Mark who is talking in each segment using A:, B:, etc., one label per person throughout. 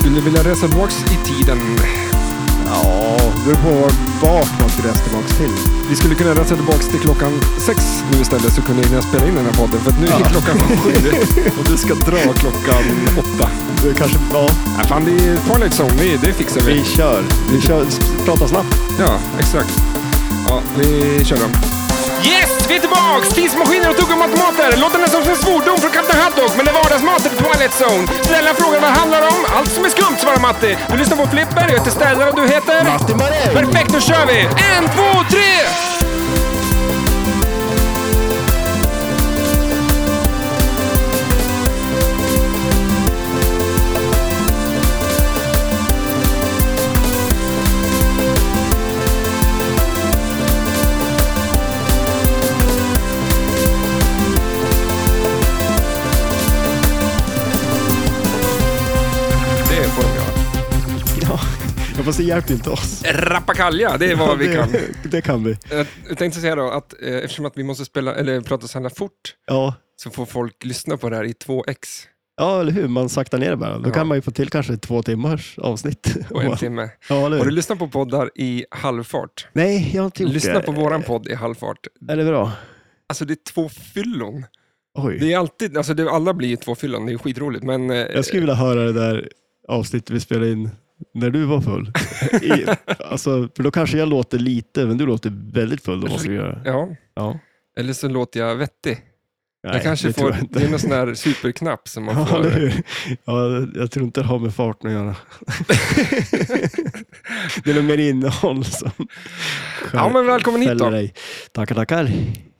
A: Skulle vilja resa tillbaks i tiden.
B: Ja, det beror på var- vart man skulle resa tillbaka till.
A: Vi skulle kunna resa tillbaks till klockan sex nu istället så kunde jag hinna spela in den här podden. För att nu är
B: Ja.
A: klockan sju och du ska dra klockan åtta.
B: Det kanske, ja,
A: Nej, fan, det är Twilight Zone, det, det fixar vi.
B: vi kör. Vi kör, s- prata snabbt.
A: Ja, exakt. Ja, vi kör dem. Yes, vi är tillbaks! Tidsmaskiner och tugga matemater. Låter nästan som en svordom från Captain Haddock, men det är vardagsmat i Twilight Zone. Snälla frågan vad det handlar om? Allt som är skumt, svarar Matti. Du lyssnar på Flipper, jag heter Stellan och du heter?
B: Matti Maräng!
A: Perfekt, då kör vi! En, två, tre! Det får de göra.
B: Ja, ja, fast det hjälper inte oss.
A: Rappakalja, det är vad vi kan.
B: Det, det kan vi.
A: Jag Eh, jag tänkte säga då att eh, eftersom att vi måste spela, eller prata så här fort
B: Ja.
A: så får folk lyssna på det här i 2x
B: ja, eller hur? Man saktar ner det bara. Då
A: Ja.
B: kan man ju få till kanske två timmars avsnitt.
A: på en timme.
B: Ja, eller
A: Har du
B: hur?
A: lyssnat på poddar i halvfart?
B: Nej, jag har inte gjort
A: Lyssna
B: det.
A: på våran podd i halvfart.
B: Är det bra?
A: Alltså det är två fyllon.
B: Oj.
A: Det är alltid, alltså det, alla blir ju två fyllon, det är skitroligt. Men eh,
B: Jag skulle vilja höra det där avsnittet vi spelade in när du var full. I, alltså, för då kanske jag låter lite, men du låter väldigt full då. Måste vi göra.
A: ja,
B: Ja.
A: eller så låter jag vettig.
B: Nej,
A: jag kanske
B: det
A: får,
B: tror jag inte.
A: det är någon sån här superknapp som man
B: Ja, eller
A: får.
B: hur? Ja, jag tror inte det har med farten att göra. det är nog mer innehåll som
A: Ja, men välkommen hit
B: fäller
A: då.
B: dig. Tackar, tackar.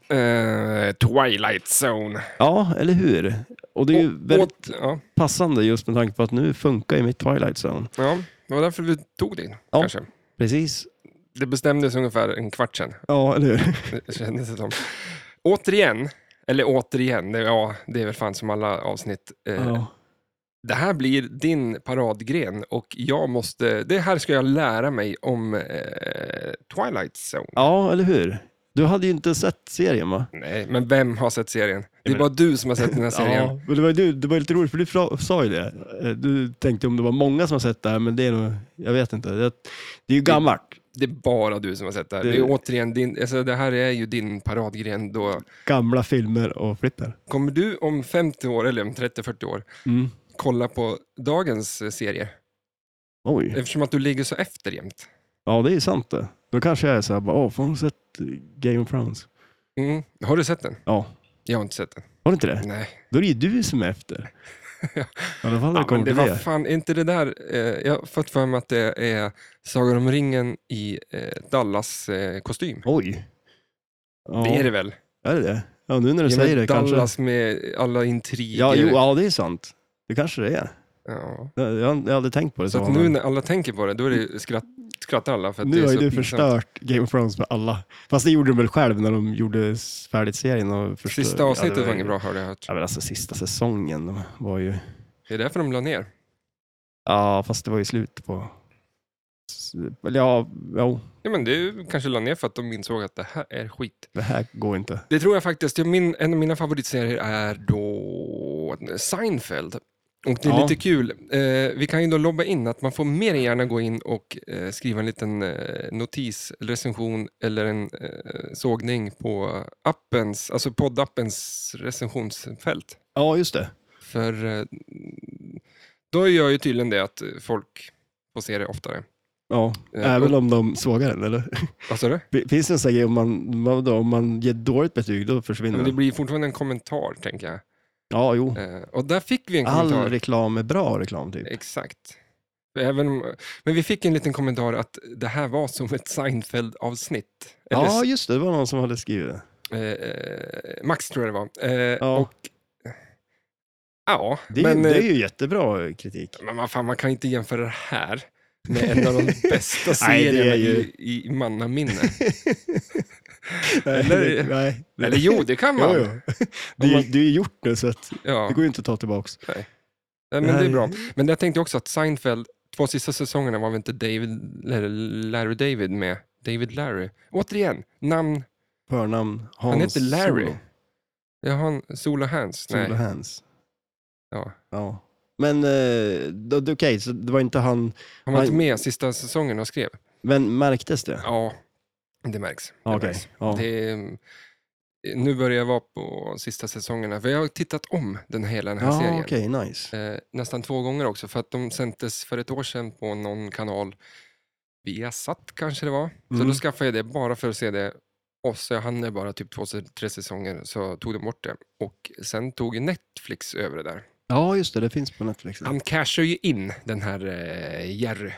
A: Eh, Twilight Zone.
B: Ja, eller hur? Och det är ju
A: Och-
B: väldigt
A: åt- ja,
B: passande just med tanke på att nu funkar ju mitt Twilight Zone.
A: ja, det var därför vi tog det
B: Ja.
A: kanske.
B: Precis.
A: Det bestämdes ungefär en kvart sedan.
B: Ja, eller hur?
A: Det kändes det som. Återigen, eller återigen, det, ja, det är väl fan som alla avsnitt. Eh,
B: Ja.
A: Det här blir din paradgren och jag måste, det här ska jag lära mig om eh, Twilight Zone.
B: ja, eller hur? Du hade ju inte sett serien va?
A: Nej, men vem har sett serien? Det är
B: men-
A: bara du som har sett den här serien.
B: Ja, men det var, ju du, det var ju lite roligt för du fra- sa ju det. Eh, Du tänkte om det var många som har sett det här, men det är nog, jag vet inte. Det, det är ju gammalt.
A: Det är bara du som har sett det här. Det,
B: Det-
A: är återigen din, alltså, det här är ju din paradgren. Då.
B: Gamla filmer och flipper.
A: Kommer du om 50 år, eller om 30-40 år,
B: Mm.
A: kolla på dagens eh, serie?
B: Oj.
A: Eftersom att du ligger så efter jämt.
B: Ja, det är ju sant det. Då kanske jag är så här, bara, åh, får hon sett Game of Thrones?
A: Mm. Har du sett den?
B: Ja.
A: Jag har inte sett den.
B: Har du inte det?
A: Nej.
B: Då är det ju du som är efter.
A: Ja.
B: I alla fall när
A: Ja,
B: det
A: men
B: kommer
A: det
B: till
A: var
B: det.
A: fan inte det där. Eh, jag har fått för mig att det är Sagan om ringen i eh, Dallas-kostym.
B: Oj. Ja,
A: Det är det väl?
B: Är det det? Ja, nu när du
A: Ja, men
B: säger det kanske.
A: Dallas med alla intriger.
B: Ja, jo, ja, det är sant. Det kanske det är.
A: Ja.
B: Jag, jag har aldrig tänkt på det.
A: Så att
B: men-
A: nu när alla tänker på det, då är det skratt, skrattar alla. För att det
B: nu
A: är
B: har ju
A: så
B: du
A: pinsamt.
B: förstört Game of Thrones med alla. Fast det gjorde de väl själv när de gjorde färdigt serien. Och förstör...
A: Sista avsnittet var inget bra, har jag hört.
B: Ja, men alltså sista säsongen var ju...
A: Det är därför de la ner.
B: Ja, fast det var ju slut på... Eller Ja, jo,
A: Ja, men det kanske la ner för att de insåg att det här är skit.
B: det här går inte.
A: Det tror jag faktiskt. Ja, Min, en av mina favoritserier är då Seinfeld. Och det är
B: Ja.
A: lite kul. Eh, vi kan ju då lobba in att man får mer än gärna gå in och eh, skriva en liten eh, notis, recension eller en eh, sågning på appens, alltså poddappens recensionsfält.
B: Ja, just det.
A: För eh, då gör ju tydligen det att eh, folk får se det oftare.
B: Ja,
A: Eh,
B: även
A: och-
B: om de sågar den, eller?
A: Vad sa du?
B: Fin- Finns det en sån här grej om man, vad då, om man ger dåligt betyg, då försvinner
A: Men det
B: den?
A: blir fortfarande en kommentar, tänker jag.
B: Ja, jo.
A: Eh, och där fick vi en kommentar.
B: All reklam är bra reklam, typ.
A: Exakt. Även, om- men vi fick en liten kommentar att det här var som ett Seinfeld-avsnitt. Eller,
B: Ja, just det. Det var någon som hade skrivit det.
A: eh, eh, Max tror jag det var. Eh,
B: Ja.
A: Och, ja,
B: Det är, ju-
A: men,
B: det är
A: eh,
B: ju jättebra kritik.
A: men vad fan, man kan inte jämföra det här med en av de bästa
B: Nej, det är
A: serierna
B: ju-
A: i, i mannaminne.
B: Nej,
A: Eller-
B: det- nej. det-
A: Eller jo, det kan man.
B: Jo, jo. Det, är,
A: man-
B: det är ju gjort nu, så att
A: Ja,
B: det går ju inte att ta tillbaks.
A: nej, men det är
B: Nej.
A: bra. Men jag tänkte också att Seinfeld, två sista säsongerna var väl inte David, eller Larry David med? David Larry. Återigen, namn
B: Förnamn Hans
A: Han heter Larry.
B: Solo.
A: Jag har en Sola Hands. Nej.
B: Solo Hans.
A: Ja.
B: Ja. Men eh, då- då- okej, så det var inte han.
A: Han var inte
B: Han-
A: med sista säsongen och skrev.
B: Men märktes det?
A: Ja, det märks. Det
B: Okej,
A: märks.
B: ja.
A: Det, är- eh, nu börjar jag vara på sista säsongerna, för jag har tittat om den hela den här
B: Ja,
A: serien.
B: okej, nice.
A: Eh, nästan två gånger också, för att de sändes för ett år sedan på någon kanal. Viasat kanske det var. Så
B: Mm.
A: då skaffade jag det bara för att se det. Och så jag hann det bara typ två, tre säsonger, så tog de bort det. Och sen tog Netflix över det där.
B: Ja, just det, det finns på Netflix.
A: Han cashar ju in den här eh, Jerry.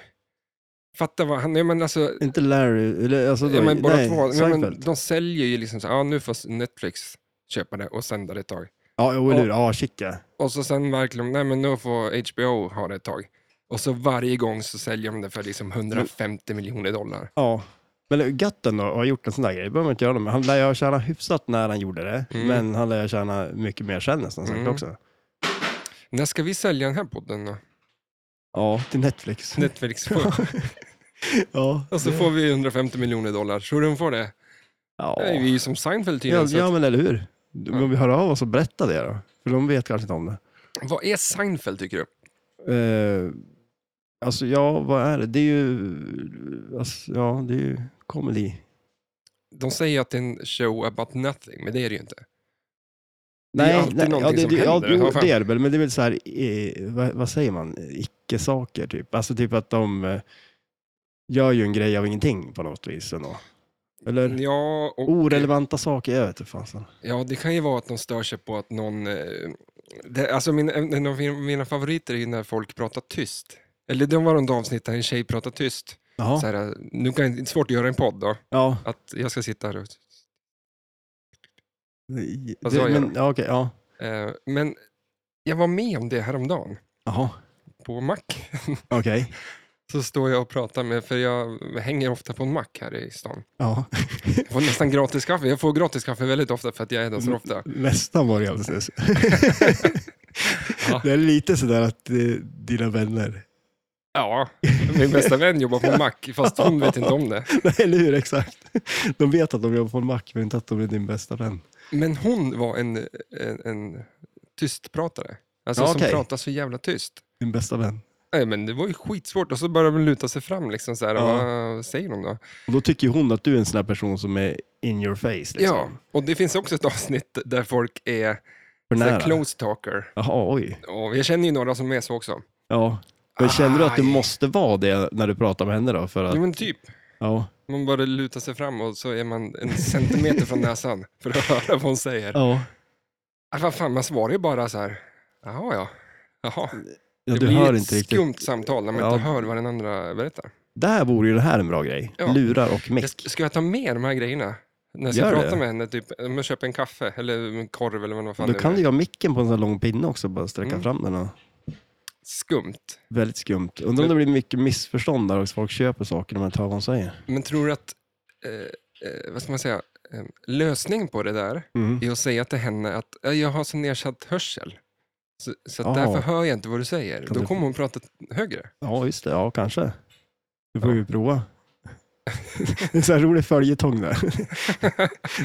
A: Fatta vad han, nej men alltså,
B: Inte Larry, eller alltså,
A: ja, men bara
B: nej,
A: två, nej,
B: Seinfeld.
A: men de säljer ju liksom så här, ja nu får Netflix köpa det och sända det ett tag.
B: Ja, jo, eller hur? Ja, shit ja.
A: Och så sen verkligen, nej men nu får HBO ha det ett tag. Och så varje gång så säljer de det för liksom 150 miljoner dollar.
B: Ja. Men Gatten då, har gjort en sån där grej, det behöver man inte göra det med. Han lär ju ha tjänat hyfsat när han gjorde det,
A: Mm.
B: men han lär ju ha tjänat mycket mer sen nästan säkert
A: Mm.
B: också.
A: När ska vi sälja den här podden då?
B: Ja, till Netflix.
A: Netflix får.
B: ja.
A: Och så får vi 150 miljoner dollar. Tror du de får det?
B: ja.
A: Nej, vi är ju som Seinfeld
B: ja,
A: tydligen. så
B: ja,
A: att-
B: men eller hur? Om vi hör av oss och berätta det då, för de vet kanske inte om det.
A: Vad är Seinfeld tycker du?
B: Eh, alltså, ja, vad är det? Det är ju, alltså, ja, det är ju comedy.
A: De säger att det är en show about nothing, men det är det ju inte. Det är ju
B: Nej,
A: alltid
B: nej ja,
A: någonting
B: det,
A: som
B: det, ja,
A: händer.
B: jo,
A: Vad fan?
B: det är det väl, men det är väl så här, eh, vad, vad säger man, icke-saker typ. Alltså typ att de eh, gör ju en grej av ingenting på något vis ändå. Eller
A: Ja, och,
B: orelevanta saker, jag vet inte fasen.
A: ja, det kan ju vara att de stör sig på att någon... eh, Det, alltså min, en av min- mina favoriter är ju när folk pratar tyst. Eller det var något avsnitt där en tjej pratar tyst.
B: Jaha,
A: Så här, nu kan, det är svårt att göra en podd då,
B: ja.
A: att jag ska sitta här och...
B: Det,
A: Vad sa jag
B: men, ja, okej, ja.
A: Eh, men jag var med om det häromdagen
B: Jaha,
A: på mack.
B: okej.
A: Så står jag och pratar med, för jag hänger ofta på en mack här i stan.
B: Ja.
A: Jag får nästan gratis kaffe. Jag får gratis kaffe väldigt ofta för att jag är där så
B: Mm.
A: ofta.
B: Nästan var det alldeles nyss.
A: Ja.
B: Det är lite sådär att eh, dina vänner,
A: Ja, min bästa vän jobbar på en mack, fast hon vet inte om det.
B: nej eller hur, exakt. De vet att de jobbar på en mack, men inte att de är din bästa vän.
A: Men hon var en, en, en tystpratare. Alltså
B: Ja,
A: som
B: okej.
A: pratade så jävla tyst.
B: Din bästa vän.
A: Nej, men det var ju skitsvårt. Och så började hon luta sig fram. Liksom, så här,
B: Ja.
A: Vad säger hon då?
B: Och då tycker hon att du är en sån här person som är in your face. Liksom.
A: Ja, och det finns också ett avsnitt där folk är
B: För
A: så här,
B: nära.
A: close talker.
B: Jaha, oj.
A: Och jag känner ju några som är så också.
B: Ja. Men känner du att du
A: Aj.
B: måste vara det när du pratar med henne då? För
A: Ja,
B: att,
A: men typ.
B: ja.
A: Man bara lutar sig fram och så är man en centimeter från näsan för att höra vad hon säger.
B: ja.
A: Ah, vad fan, man svarar ju bara så här. Jaha, ja. Jaha. det
B: du
A: blir
B: hör
A: ett
B: inte riktigt.
A: skumt samtal när man
B: Ja.
A: inte hör vad den andra berättar.
B: Där vore ju det här en bra grej.
A: Ja.
B: Lurar och
A: Jag,
B: mick.
A: ska jag ta med de här grejerna? När jag ska
B: Gör
A: prata
B: det.
A: med henne, typ, om jag köper en kaffe eller en korv eller vad fan
B: Då
A: det
B: kan
A: är.
B: du ju ha micken på en sån här lång pinne också, bara sträcka
A: Mm.
B: fram den. Och.
A: Skumt.
B: Väldigt skumt. Undrar om det blir mycket missförstånd där också, folk köper saker när man inte hör vad de säger.
A: Men tror du att, eh, eh, vad ska man säga, eh, lösningen på det där
B: Mm.
A: är att säga till henne att eh, jag har så nedsatt hörsel. Så, så att
B: Jaha.
A: därför hör jag inte vad du säger.
B: Ah. Kan
A: Då
B: du-
A: kommer hon prata högre.
B: Ja, just det. Ja, kanske. Det får
A: Ja.
B: vi prova. en sån här rolig följetong där.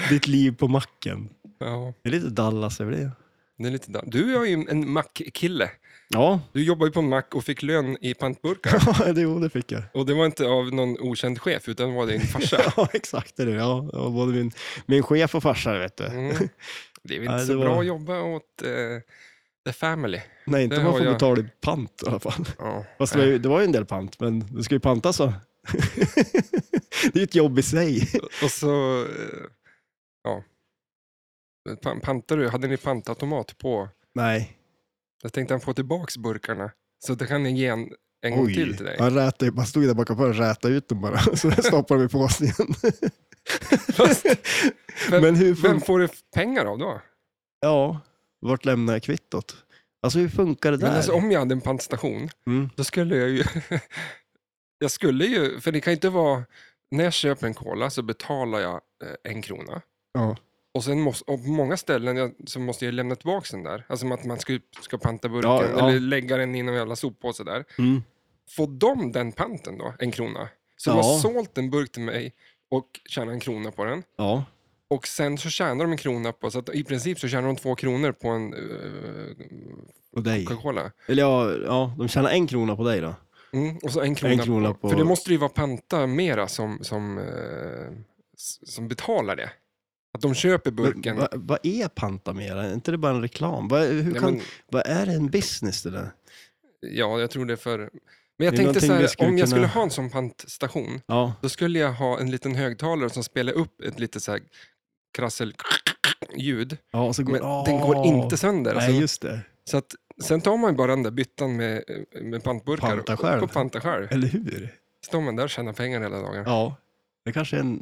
B: Ditt liv på macken.
A: Ja,
B: Det är lite Dallas över det.
A: det är lite da- Du är ju en mackkille.
B: Ja,
A: Du jobbar ju på en mack och fick lön i pantburkar.
B: det, jo, det fick jag.
A: Och det var inte av någon okänd chef, utan var din farsa.
B: Ja, exakt. Det är det. Ja, det var både min, min chef och farsa, vet du.
A: Mm. Det är väl
B: Ja,
A: inte
B: det
A: så
B: var-
A: bra att jobba åt eh, the family.
B: Nej, inte
A: Det
B: om man
A: har
B: får
A: jag.
B: betala i pant i alla fall.
A: Ja.
B: Fast det var, ju, det var ju en del pant, men det ska ju pantas så. det är ju ett jobb i sig.
A: Och så, eh, ja. Pan- Pantar du? Hade ni pantautomat på?
B: Nej.
A: Jag tänkte han få tillbaks burkarna. Så det kan jag ge en, en gång till till dig.
B: Han, rätade, ju- han stod ju där bakom och rätade ut den bara, så stoppade de i påsen igen.
A: Fast, vem,
B: Men hur
A: vem
B: funkar...
A: får du pengar av då?
B: Ja, vart lämnar jag kvittot? Alltså hur funkar det där?
A: Men alltså, om jag hade en pantstation,
B: Mm.
A: då skulle jag ju... jag skulle ju, för det kan ju inte vara... När jag köper en cola så betalar jag eh, en krona.
B: Ja.
A: Och sen måste, och på många ställen jag, så måste jag lämna tillbaka den där. Alltså att man ska, ska panta burken
B: Ja, ja.
A: eller lägga den i någon jävla soppåse där.
B: Mm.
A: Får de den panten då, en krona? Så de
B: Ja.
A: har sålt en burk till mig och tjänar en krona på den.
B: ja.
A: Och sen så tjänar de en krona på, så att i princip så tjänar de två kronor på en eh,
B: Och dig.
A: Coca-Cola.
B: Eller ja, ja, de tjänar en krona på dig då.
A: Mm, och så en krona, på,
B: krona på-
A: För det måste ju vara Panta mera som, som, eh, s- som betalar det. Att de köper burken.
B: Men va- Vad är Pantamera? Är inte det bara en reklam? Vad- hur
A: Ja,
B: kan,
A: men-
B: Vad är det en business det där?
A: Ja, jag tror det är för... Men jag
B: Det är
A: tänkte
B: någonting
A: så här,
B: vi skulle
A: om jag
B: kunna-
A: skulle ha en sån pantstation,
B: Ja,
A: då skulle jag ha en liten högtalare som spelar upp ett lite så här krassel-ljud.
B: ja och så går
A: Men den går
B: Åh!
A: inte sönder.
B: Nej,
A: alltså.
B: just det.
A: Så att, sen tar man ju bara den där byttan med, med pantburkar
B: Panta
A: och-
B: själv.
A: och panta själv.
B: Eller hur?
A: Står man där och tjänar pengar hela dagen.
B: Ja, det kanske är en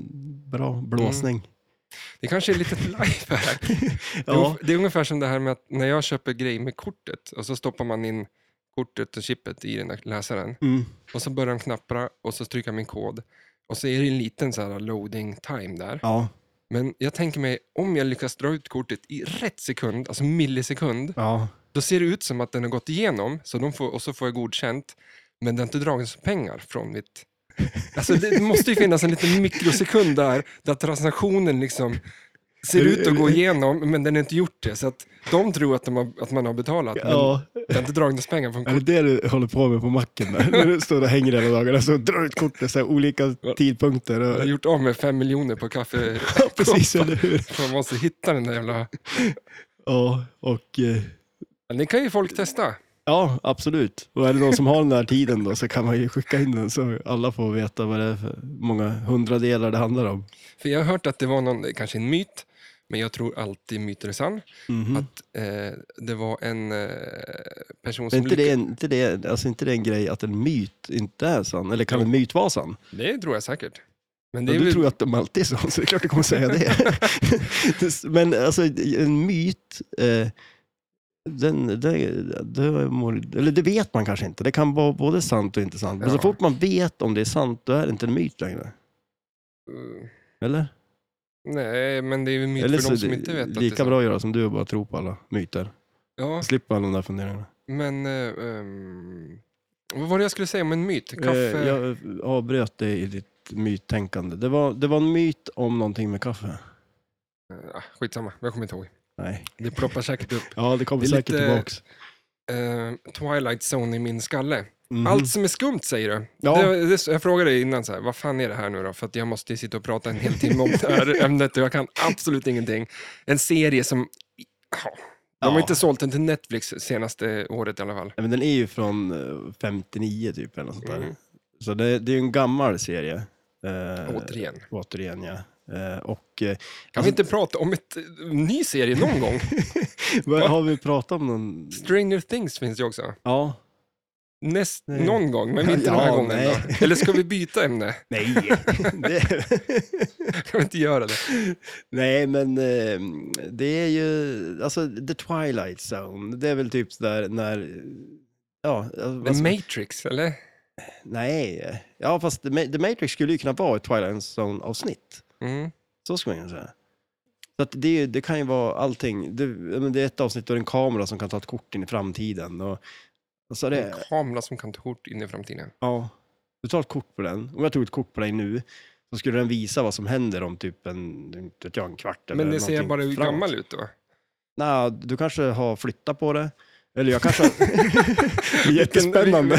B: bra
A: Mm.
B: blåsning.
A: Det kanske är lite live här. Det är
B: Ja,
A: ungef- Det är ungefär som det här med att när jag köper grejer med kortet och så stoppar man in kortet och chippet i den där läsaren
B: mm.
A: och så börjar den knappra och så stryker jag min kod och så är det en liten så här loading time där.
B: ja,
A: Men jag tänker mig om jag lyckas dra ut kortet i rätt sekund, alltså millisekund,
B: ja.
A: då ser det ut som att den har gått igenom så de får, och så får jag godkänt men det har inte dragits pengar från mitt... Alltså det måste ju finnas en liten mikrosekund där, där transaktionen liksom ser ut att gå igenom, men den har inte gjort det. Så att de tror att, de har, att man har betalat, men
B: ja.
A: det har inte dragits pengar från
B: Är det
A: kortet.
B: det du håller på med på macken? Där? När du står och hänger hela dagarna så drar du ut kortet så här, olika tidpunkter.
A: Jag har
B: Och...
A: gjort av med fem miljoner på kaffe.
B: Ja, precis, eller hur?
A: För man måste hitta den där jävla...
B: Ja, och... eh,
A: Men Det kan ju folk testa.
B: Ja, absolut. Och är det någon som har den här tiden då så kan man ju skicka in den så alla får veta vad det är för många hundradelar det handlar om.
A: För jag har hört att det var någon, det är kanske en myt, men jag tror alltid myter är sann.
B: Mhm.
A: Att eh, det var en eh, person
B: Men
A: som...
B: inte det,
A: lyckades-
B: inte, det, alltså inte det en grej att en myt inte är sann? Eller kan en myt vara sann?
A: det tror jag säkert. Men det
B: Ja,
A: är
B: du
A: väl...
B: tror ju att de alltid är sann, så det är klart du kommer säga det. Det- Men alltså, en myt, eh, den, det, det, mår- eller det vet man kanske inte. Det kan vara både sant och inte sant. Men
A: Ja.
B: så fort man vet om det är sant, då är det inte en myt längre.
A: Eh,
B: Eller?
A: Nej, men det är ju en myt
B: eller
A: för
B: så
A: de
B: är
A: som
B: det
A: inte vet att det
B: lika
A: är
B: bra att göra som du och bara tro på alla myter.
A: Ja,
B: Slippa alla de där funderingarna.
A: men... eh, ehm, vad var det jag skulle säga om en myt? Kaffe?
B: Eh, Jag avbröt dig i ditt myttänkande. Det var, det var en myt om någonting med kaffe.
A: Ah, skitsamma, jag kommer inte ihåg.
B: Nej.
A: Det ploppar säkert upp.
B: Ja, det kommer
A: Det är
B: säkert
A: lite-
B: tillbaks.
A: Eh, Twilight Zone i min skalle.
B: Mhm.
A: Allt som är skumt säger du.
B: Ja.
A: Det, det, jag frågade dig innan, så här, vad fan är det här nu då? För att jag måste ju sitta och prata en hel timme om det här ämnet och jag kan absolut ingenting. En serie som... Ja, de har
B: Ja.
A: inte sålt den till Netflix senaste året i alla fall.
B: Nej, men den är ju från eh, 59 typ eller något sånt där.
A: Mm.
B: Så det, det är ju en gammal serie. Eh,
A: Återigen. Kan
B: Återigen, ja. Eh, och eh,
A: vi inte prata om ett eh, ny serie någon gång?
B: vad- har vi pratat om någon?
A: Stranger Things finns ju också.
B: Ja.
A: Näst,
B: Nej.
A: någon gång, men inte den här
B: Ja,
A: gången.
B: nej.
A: Då. Eller ska vi byta ämne?
B: Nej. det,
A: Kan vi inte göra det?
B: nej, men eh, det är ju, alltså The Twilight Zone, det är väl typ sådär när, ja. alltså,
A: The
B: vad ska-
A: Matrix, eller?
B: Nej, ja fast The Ma- The Matrix skulle ju kunna vara ett Twilight Zone-avsnitt.
A: Mm.
B: Så ska man kunna säga. Så att det, är ju- det kan ju vara allting. Det, ja, men det är ett avsnitt där det är en kamera som kan ta ett kort in i framtiden. Och, och så är
A: En
B: det,
A: kamera som kan ta kort in i framtiden.
B: ja, du tar ett kort på den. Om jag tog ett kort på dig nu så skulle den visa vad som händer om typ en, inte vet jag, en kvart eller
A: Men det ser
B: någonting
A: bara
B: framåt.
A: gammal ut då.
B: Nej, du kanske har flyttat på det. Eller jag kanske... det är jättespännande.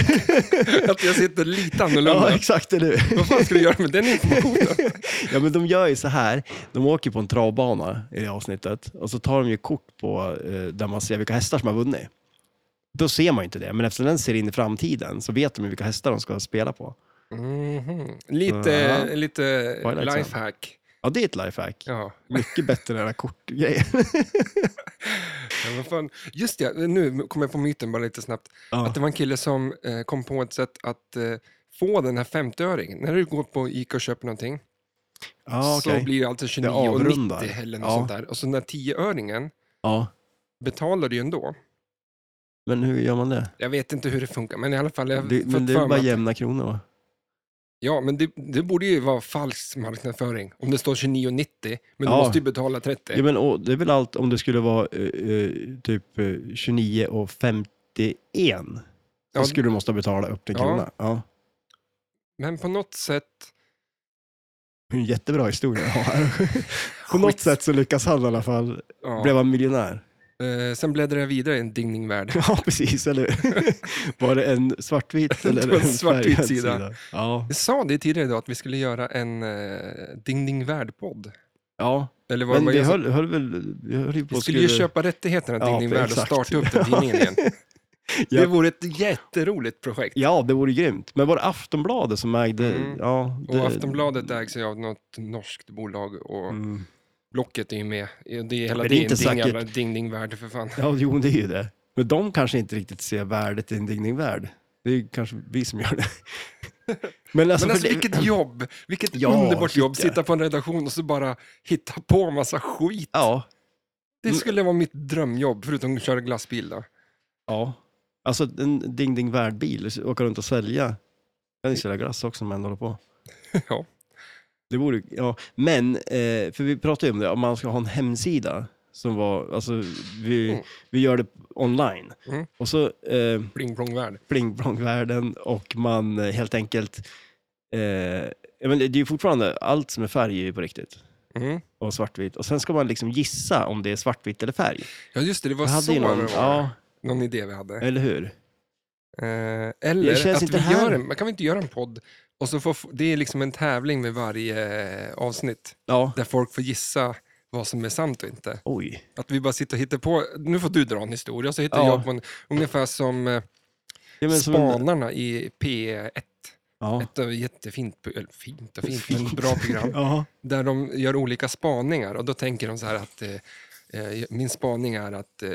A: Att jag sitter lite
B: ja,
A: annorlunda.
B: exakt. Eller hur?
A: Vad fan ska du göra med den informationen?
B: Ja, men de gör ju så här. De åker på en travbana i det avsnittet och så tar de ju kort på eh, där man ser vilka hästar som har vunnit. Då ser man ju inte det, men eftersom den ser in i framtiden så vet de ju vilka hästar de ska spela på.
A: Mhm. Lite,
B: Ja.
A: lite
B: Twilight Zone.
A: lifehack.
B: Ja, det är ett lifehack.
A: Ja.
B: Mycket bättre än den här kortgrejen.
A: Ja, vad fan. Just det, nu kom jag på myten bara lite snabbt.
B: Ja.
A: Att det var en kille som eh, kom på ett sätt att eh, få den här 50-öringen. När du går på Ica och köper någonting
B: Ja,
A: så
B: Ah, okej.
A: blir det alltså
B: Det
A: 29 och
B: avrundar.
A: 90 eller något
B: Ja.
A: sånt där. Och så den här 10-öringen
B: ja.
A: betalar du ju ändå.
B: Men hur gör man det?
A: Jag vet inte hur det funkar, men i alla fall. Jag har
B: det
A: fått
B: men det
A: för
B: är
A: mig
B: bara
A: att-
B: jämna kronor va?
A: Ja, men det, det borde ju vara falsk marknadsföring. Om det står 29,90, men du
B: Ja.
A: måste ju betala 30.
B: Ja, men, och, det är väl allt om det skulle vara eh, eh, typ eh, 29 och 51. Då
A: Ja.
B: skulle du måste betala upp till en
A: Ja.
B: krona. Ja.
A: Men på något sätt...
B: Det är en jättebra historia jag har. På något
A: Skits-
B: sätt så lyckas han i alla fall.
A: Ja.
B: Blev han miljonär?
A: Eh, sen bläddrar jag vidare i en dingning värld.
B: Ja, precis. Eller var det en svartvit eller
A: Det var en
B: en
A: svartvit
B: färgad
A: sida.
B: Ja.
A: Jag sa det tidigare idag att vi skulle göra en eh, dingning värld-podd.
B: ja.
A: Eller vad
B: Men
A: vad
B: vi
A: jag sa.
B: höll, höll väl... Vi höll ju på
A: Vi
B: att
A: skulle ju köpa rättigheterna till
B: Ja,
A: Dingning Värld och
B: exakt.
A: starta upp den tidningen igen. Det
B: Japp.
A: vore ett jätteroligt projekt.
B: Ja, det vore grymt. Men var det Aftonbladet som ägde...
A: Mm.
B: Ja,
A: Och
B: det...
A: Aftonbladet ägs ju av något norskt bolag och
B: Mm.
A: Blocket är ju med. Det är hela
B: Men
A: det
B: det är
A: är
B: inte
A: ding,
B: säkert.
A: jävla Ding Ding Värld för fan.
B: Ja, jo, det är ju det. Men de kanske inte riktigt ser värdet i en digningvärld. Det är ju kanske vi som gör det. Men alltså,
A: Men alltså
B: för det-
A: vilket jobb! Vilket
B: Ja,
A: underbart
B: shit,
A: jobb!
B: ja.
A: Sitta på en redaktion och så bara hitta på massa skit.
B: Ja,
A: Det skulle vara mitt drömjobb, förutom att köra glassbil då.
B: Ja. Alltså en ding ding värdbil, åka runt och sälja. Kan ju sälja glass också om man håller på.
A: Ja.
B: Det borde, ja. Men, eh, för vi pratade ju om det, om man ska ha en hemsida som var, alltså vi,
A: Mm.
B: vi gör det online.
A: Mm.
B: Och så eh,
A: Pling plong värld.
B: pling plong världen och man eh, helt enkelt, eh, ja, men det är ju fortfarande, allt som är färg är ju på riktigt.
A: Mm.
B: Och svartvitt. Och sen ska man liksom gissa om det är svartvitt eller färg.
A: Ja just det, det var
B: Jag
A: så
B: ju någon,
A: det var.
B: ja,
A: någon idé vi hade.
B: eller hur?
A: Eh,
B: Det
A: eller
B: känns
A: att
B: inte
A: vi
B: här.
A: gör en, man kan vi inte göra en podd och så får, f- det är liksom en tävling med varje eh, avsnitt
B: Ja.
A: där folk får gissa vad som är sant och inte.
B: Oj.
A: Att vi bara sitter och hittar på, nu får du dra en historia, så hittar
B: Ja.
A: jag på en, ungefär som eh,
B: Ja, men som en-
A: spanarna i P1.
B: Ja.
A: Ett eh, jättefint, pro- eller fint och fint, men bra program.
B: Ja.
A: Där de gör olika spaningar och då tänker de så här att eh, eh, min spaning är att eh,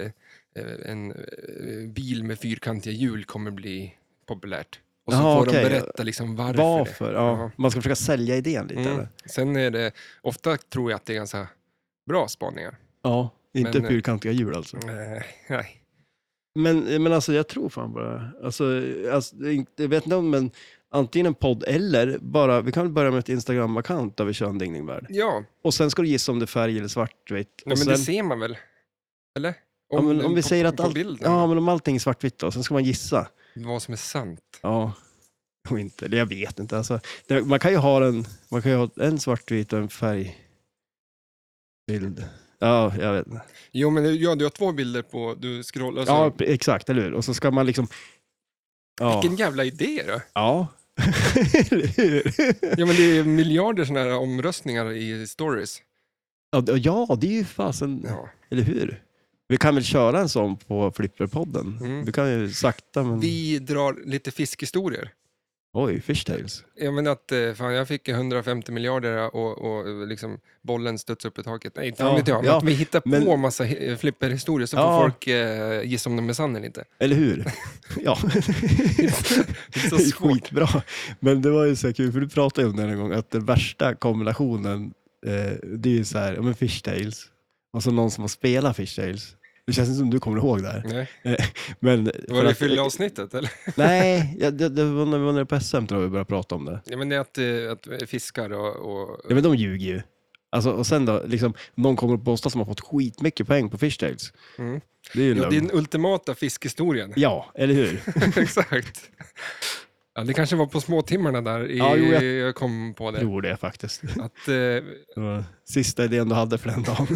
A: eh, en eh, bil med fyrkantiga hjul kommer bli populärt. Och så
B: Jaha,
A: får
B: okej.
A: de berätta liksom varför. det.
B: Varför?
A: Ja.
B: Ja. Man ska försöka sälja idén lite.
A: Mm.
B: Eller?
A: Sen är det, ofta tror jag att det är ganska bra spaningar.
B: Ja, inte
A: Men, eh,
B: fyrkantiga hjul alltså.
A: Eh, nej.
B: Men, men alltså jag tror fan bara, alltså, alltså, det är inte- jag vet inte om, men antingen en podd eller bara, vi kan väl börja med ett Instagram-account där vi kör en dingningvärld.
A: Ja,
B: Och sen ska du gissa om det är färg eller svartvitt.
A: nej,
B: Och
A: men
B: sen,
A: det ser man väl? Eller?
B: ja, men, om vi
A: på,
B: säger att
A: på
B: allt,
A: bilden,
B: ja, men om allting är svartvitt då, sen ska man gissa.
A: vad som är sant.
B: Ja, och inte, eller jag vet inte. Alltså, det, man kan ju ha en, man kan ju ha en svartvit och en färgbild. Ja, jag vet inte.
A: Jo, men ja, du har två bilder på, du scrollar så.
B: Ja, p- exakt, eller hur? Och så ska man liksom... Ja.
A: Vilken jävla idé då!
B: Ja. eller hur?
A: Ja, men det är miljarder sådana här omröstningar i stories.
B: Ja, d- ja, det är ju fasen...
A: Ja.
B: Eller hur? Vi kan väl köra en sån på Flipperpodden?
A: Mm.
B: Vi kan ju sakta men...
A: Vi drar lite fiskhistorier.
B: Oj, Fishtails.
A: Jag menar att eh, fan, jag fick 150 miljarder och, och eh, liksom, bollen studsade upp i taket. Nej, fan
B: Ja,
A: vet jag. Men
B: ja,
A: att vi hittar på
B: men-
A: massa he- flipperhistorier så
B: Ja.
A: får folk eh, gissa om de är sanna eller inte.
B: Eller hur? ja.
A: Det är
B: Det
A: så
B: är
A: svårt.
B: skitbra. Men det var ju så här kul, för du pratade ju om det en gång, att den värsta kombinationen, eh, det är ju så här, ja men Fishtails. Och så någon som har spelat Fishtails. Det känns inte som du kommer ihåg det här.
A: Nej.
B: Men,
A: Var
B: för
A: Mm. det
B: att-
A: fylla avsnittet eller?
B: Nej, ja, det, det var när vi var nere på SM tror jag vi började prata om det.
A: Ja, men det är att, eh, att fiskar och... och
B: Ja, men de ljuger ju. Alltså, och sen då, liksom, någon kommer och påstår som har fått skitmycket poäng på Fishtails.
A: Mm.
B: Det är ju
A: ja, det är
B: lögn.
A: den ultimata fiskhistorien.
B: Ja, eller hur?
A: Exakt. Ja, det kanske var på småtimmarna där i,
B: Ja, jo,
A: jag...
B: jag-
A: kom på
B: Jag
A: det.
B: tror det faktiskt.
A: Att, eh,
B: Det var sista idén du hade för den dagen.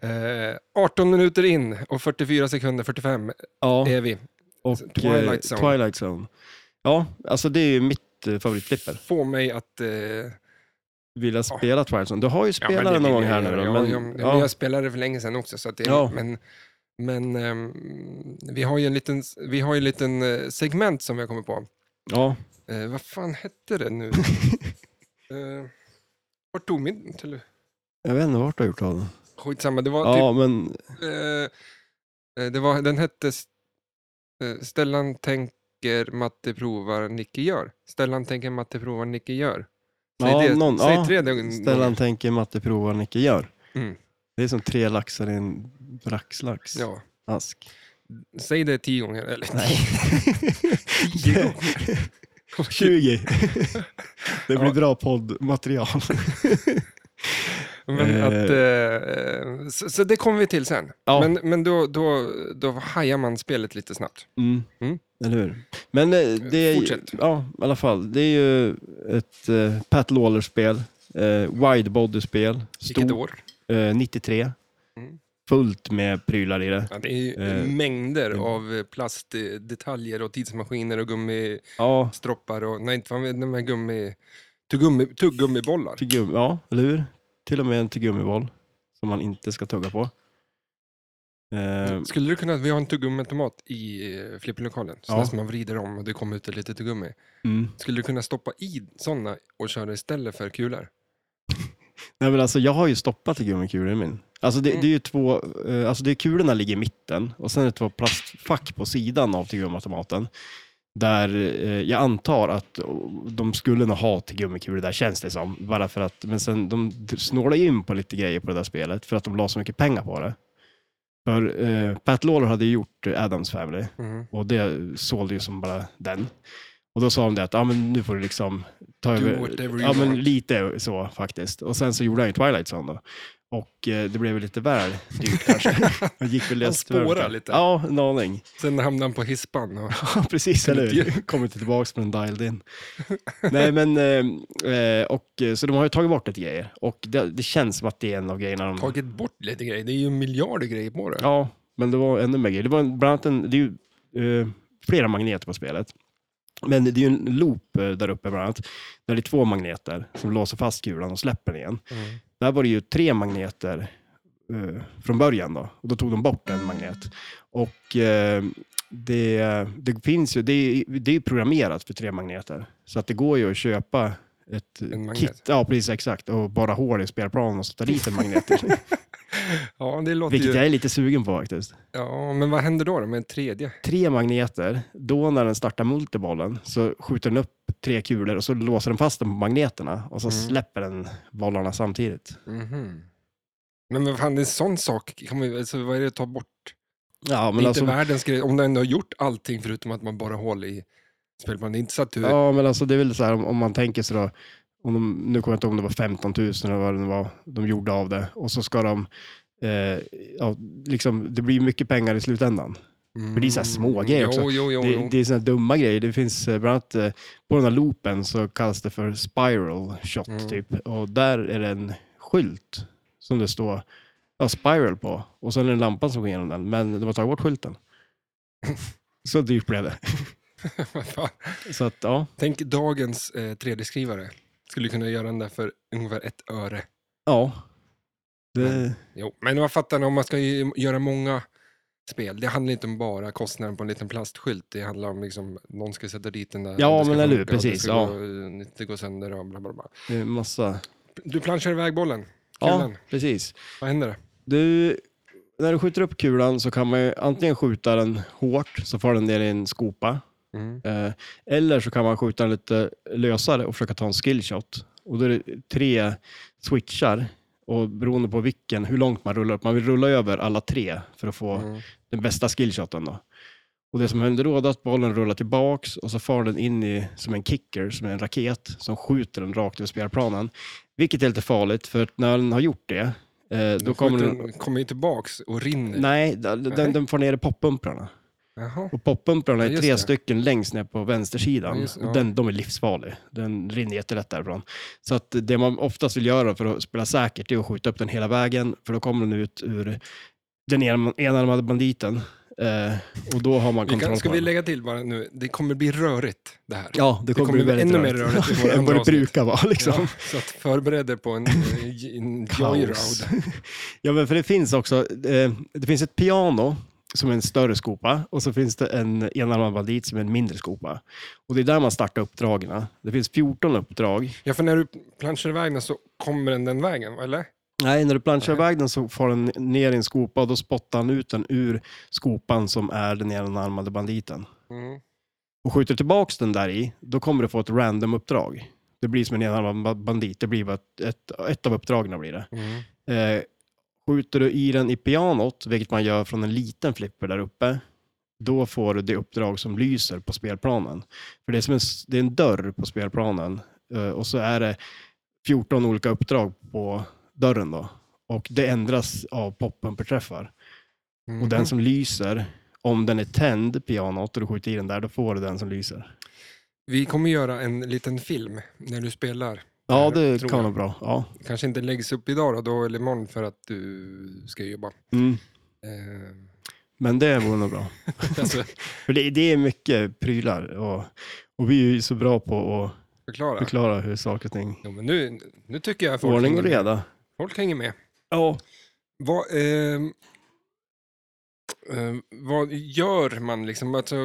A: Eh, 18 minuter in och 44 sekunder 45
B: Ja,
A: är vi.
B: och
A: Eh, Twilight
B: eh,
A: Zone.
B: Twilight Zone. Ja, alltså det är ju mitt eh, favoritflipper.
A: Få mig att... eh,
B: Vill jag spela Twilight Zone? Du har ju
A: ja, men
B: spelat den
A: det
B: någon gång
A: vill
B: här
A: jag
B: nu
A: göra.
B: då,
A: Ja,
B: men,
A: ja, men
B: ja,
A: Jag spelade för länge sedan också. Så att det,
B: Ja.
A: Men, men ehm, vi har ju en liten, vi har ju en liten eh, segment som jag kommer på.
B: ja.
A: Eh, vad fan hette det nu? eh, vart tog min telefon?
B: Jag vet inte vart du har gjort av den.
A: Skitsamma, det var
B: Ja, men
A: typ... Eh, eh, det var, den hette S- eh, Stellan tänker, Matte provar, Nicke gör. Stellan tänker, Matte provar, Nicke gör. Säg,
B: Ja,
A: det,
B: någon-
A: säg
B: ja,
A: tre gånger.
B: Stellan tänker matte provar, Nicke gör.
A: Mm.
B: Det är som tre laxar i en braxlax.
A: Ja.
B: Ask.
A: Säg det tio gånger. Eller
B: Nej.
A: tio gånger.
B: 20. Det blir
A: Ja.
B: bra poddmaterial.
A: Men
B: Eh.
A: att, eh, så, så det kommer vi till sen.
B: Ja.
A: Men, men då, då, då hajar man spelet lite snabbt.
B: Mm.
A: Mm.
B: Eller hur? Men eh, det är ju,
A: Fortsätt.
B: ja, i alla fall. Det är ju ett eh, Pat Lawler-spel. Eh, Widebody-spel.
A: Vilket
B: Stort.
A: år? Mm.
B: Eh, 93. Fullt med prylar i det.
A: Ja, det är ju
B: Eh,
A: mängder
B: eh.
A: av plastdetaljer och tidsmaskiner och gummistroppar
B: Ja,
A: och nej, inte fan vet de här gummi... Tuggummi, tuggummibollar.
B: tuggummi, ja, eller hur? Till och med en tuggummiboll som man inte ska tugga på. Eh,
A: Skulle du kunna, vi har en tuggummiautomat i eh, flipperlokalen, sån
B: Ja.
A: där som man vrider om och det kommer ut ett litet tuggummi.
B: mm.
A: Skulle du kunna stoppa i sådana och köra istället för kulor?
B: Nej, men alltså, jag har ju stoppat tuggummikulor i min. Alltså det,
A: Mm.
B: det är ju två, eh, alltså det är kulorna ligger i mitten och sen är det två plastfack på sidan av tuggummiautomaten. Där eh, jag antar att oh, de skulle nog ha tuggummikulor där känns det som. Bara för att, men sen de d- snålade ju in på lite grejer på det där spelet för att de la så mycket pengar på det. För eh, Pat Lawler hade ju gjort eh, Adams Family.
A: Mhm.
B: Och det sålde ju som bara den. Och då sa de det att ah, men nu får du liksom ta
A: Do
B: över.
A: whatever you
B: Ja, men
A: want.
B: lite så faktiskt. Och sen så gjorde han ju Twilight Zone då. Och eh, det blev väl lite väl dyrt kanske. Han gick väl
A: Han
B: lite väl-
A: spårar lite.
B: Ja, en aning.
A: Sen hamnar han på hispan och
B: Ja, precis, eller hur? Kommer inte tillbaka med en dialed in. Nej, men eh, eh, och, eh, så de har ju tagit bort lite grejer. Och det, det känns som att det är en av grejerna de...
A: tagit bort lite grejer. Det är ju miljarder grejer på det.
B: Ja, men det var ännu mer grejer. Det var en- bland annat en, det är ju, eh, flera magneter på spelet. Men det är ju en loop eh, där uppe bland annat. Där det är två magneter som låser fast kulan och släpper den igen.
A: Mm.
B: Där var det ju tre magneter eh, från början då. Och då tog de bort en magnet. Och eh, det, det finns ju, det är, det är ju programmerat för tre magneter. Så att det går ju att köpa ett
A: En magnet.
B: kit, ja precis exakt, och bara hål i spelplanen och sätta dit en magnet.
A: Ja, det låter
B: Vilket
A: ju...
B: jag är lite sugen på faktiskt.
A: Ja, men vad händer då, då med en tredje?
B: tre magneter. Då när den startar multibollen så skjuter den upp tre kulor och så låser den fast dem på magneterna och så
A: Mm.
B: släpper den bollarna samtidigt.
A: Mhm. Men vad fan, det är en sån sak. Kan man, alltså, vad är det att ta bort?
B: Ja,
A: det
B: men
A: är
B: alltså,
A: inte världens grej. Om du ändå har gjort allting förutom att man bara hål i spelplanen. Det är inte så att du...
B: ja, men alltså det är väl så här om, om man tänker sig då, om de, nu kommer jag inte ihåg om det var 15 000 eller vad det nu var de gjorde av det och så ska de eh, ja, liksom, det blir mycket pengar i slutändan.
A: Mm.
B: men det är så här små grejer
A: jo,
B: också.
A: Jo, jo, jo.
B: Det, det är sådana dumma grejer. Det finns eh, bland annat eh, på den här loopen så kallas det för spiral shot
A: Mm.
B: typ. Och där är det en skylt som det står ja, spiral på. Och sen är det en lampa som går igenom den. Men de har tagit bort skylten. så dyrt blev det.
A: Vad fan.
B: Så att ja.
A: Tänk dagens eh, 3D-skrivare. Skulle kunna göra den där för ungefär ett öre.
B: Ja.
A: Men-
B: Det,
A: Jo, men man fattar om man ska ju göra många spel. Det handlar inte om bara kostnaden på en liten plastskylt. Det handlar om liksom, någon ska sätta dit den där. och
B: Ja,
A: det ska
B: men eller hur,
A: funka och
B: precis,
A: Det, ska
B: ja.
A: gå, det går sönder och bla bla bla.
B: det är en massa.
A: Du planschar iväg bollen.
B: Ja,
A: Kulan.
B: precis.
A: Vad händer?
B: Du, när du skjuter upp kulan så kan man ju antingen skjuta den hårt så får den ner i en skopa.
A: Mm.
B: Eh, Eller så kan man skjuta den lite lösare och försöka ta en skillshot. Och då är det tre switchar och beroende på vilken, hur långt man rullar upp. Man vill rulla över alla tre för att få
A: Mm.
B: den bästa skillshoten. Då. Och det som händer då är att bollen rullar tillbaks och så far den in i, som en kicker, som en raket, som skjuter den rakt över spelplanen. Vilket är lite farligt, för att när den har gjort det, eh, då kommer den...
A: den... kommer ju tillbaks och rinner.
B: Nej, den,
A: Nej.
B: den, den far ner i poppumprarna.
A: Jaha.
B: Och
A: Ja,
B: poppumprarna är
A: just
B: tre
A: det.
B: stycken längst ner på
A: Ja,
B: vänstersidan.
A: just det, ja.
B: och den, de är livsfarliga. Den rinner jättelätt därifrån. Så att det man oftast vill göra för att spela säkert är att skjuta upp den hela vägen. För då kommer den ut ur den enarm- enarmade banditen. Eh, och då har man
A: Vi
B: kontroll
A: kan, ska
B: på
A: vi
B: den.
A: lägga till bara nu, det kommer bli rörigt det här.
B: Ja, det kommer,
A: kommer
B: bli
A: bli
B: väldigt
A: ännu mer rörigt i våra
B: än
A: andra
B: vad det
A: avsnitt.
B: brukar vara. Liksom.
A: Ja, så att förbered er på en, eh, en
B: Kaos.
A: joyroad.
B: ja, men för det finns också, eh, det finns ett piano som är en större skopa och så finns det en enarmad bandit som är en mindre skopa. Och det är där man startar uppdragen. Det finns 14 uppdrag.
A: Ja, för när du planschar iväg den så kommer den den vägen, eller?
B: Nej, när du planchar iväg den så får den ner i en skopa och då spottar han ut den ur skopan som är den enarmade banditen.
A: Mm.
B: Och skjuter tillbaks den där i, då kommer du få ett random-uppdrag. Det blir som en enarmad bandit, det blir bara ett, ett, ett av uppdragen blir det.
A: Mm.
B: Eh, skjuter du i den i pianot, vilket man gör från en liten flipper där uppe, då får du det uppdrag som lyser på spelplanen. För det är, som en, s- det är en dörr på spelplanen eh, och så är det 14 olika uppdrag på dörren då. Och det ändras av poppumperträffar.
A: Mm.
B: Och den som lyser, om den är tänd, pianot, och du skjuter i den där, då får du den som lyser.
A: Vi kommer göra en liten film när du spelar
B: Ja,
A: Tror
B: det
A: jag.
B: kan vara bra. Ja.
A: Kanske inte läggs upp idag då, då eller imorgon för att du ska jobba.
B: Mm.
A: Eh,
B: Men det vore nog bra.
A: alltså,
B: För det, det är mycket prylar och, och vi är ju så bra på att
A: förklara.
B: förklara hur saker och ting...
A: Jo, men nu, nu tycker jag folk
B: Ordning
A: hänger
B: och
A: med.
B: reda.
A: Folk hänger med.
B: Ja.
A: Vad, ehm, eh, vad gör man liksom? Alltså,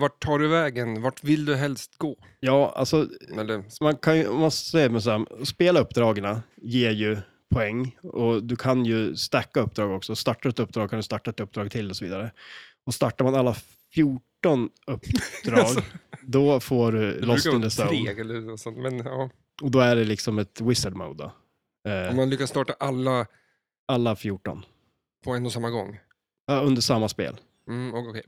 A: vart tar du vägen? Vart vill du helst gå?
B: Ja, alltså
A: Eller,
B: Så man kan ju, om man säger med så här, spela uppdragen ger ju poäng och du kan ju stacka uppdrag också. Startar ett uppdrag kan du starta ett uppdrag till och så vidare. Och startar man alla 14 uppdrag,
A: Alltså.
B: då får du
A: det
B: Lost
A: brukar
B: in
A: vara
B: the
A: tre
B: Stone.
A: eller något sånt. Men ja,
B: Och då är det liksom ett wizard mode då.
A: om
B: Eh,
A: man lyckas starta alla
B: alla 14.
A: på en och samma gång.
B: Ja, under samma spel.
A: Mm, och- okej.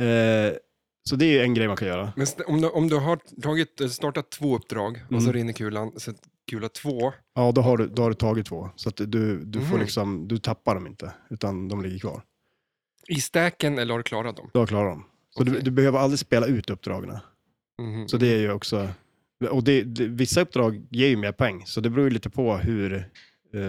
B: Eh, så det är ju en grej man kan göra.
A: Men st- om du, om du har tagit, eh, startat två uppdrag och så
B: Mm.
A: rinner kulan, så kula två,
B: Ja, då har du, då har du tagit två. Så att du, du får
A: Mhm.
B: liksom, du tappar dem inte, utan de ligger kvar.
A: i stacken eller har du klarat dem?
B: Du har klarat dem. Så du,
A: Okej.
B: du behöver aldrig spela ut uppdragen.
A: Mhm.
B: Så det är ju också... Och det, det, vissa uppdrag ger ju mer poäng, så det beror ju lite på hur... eh,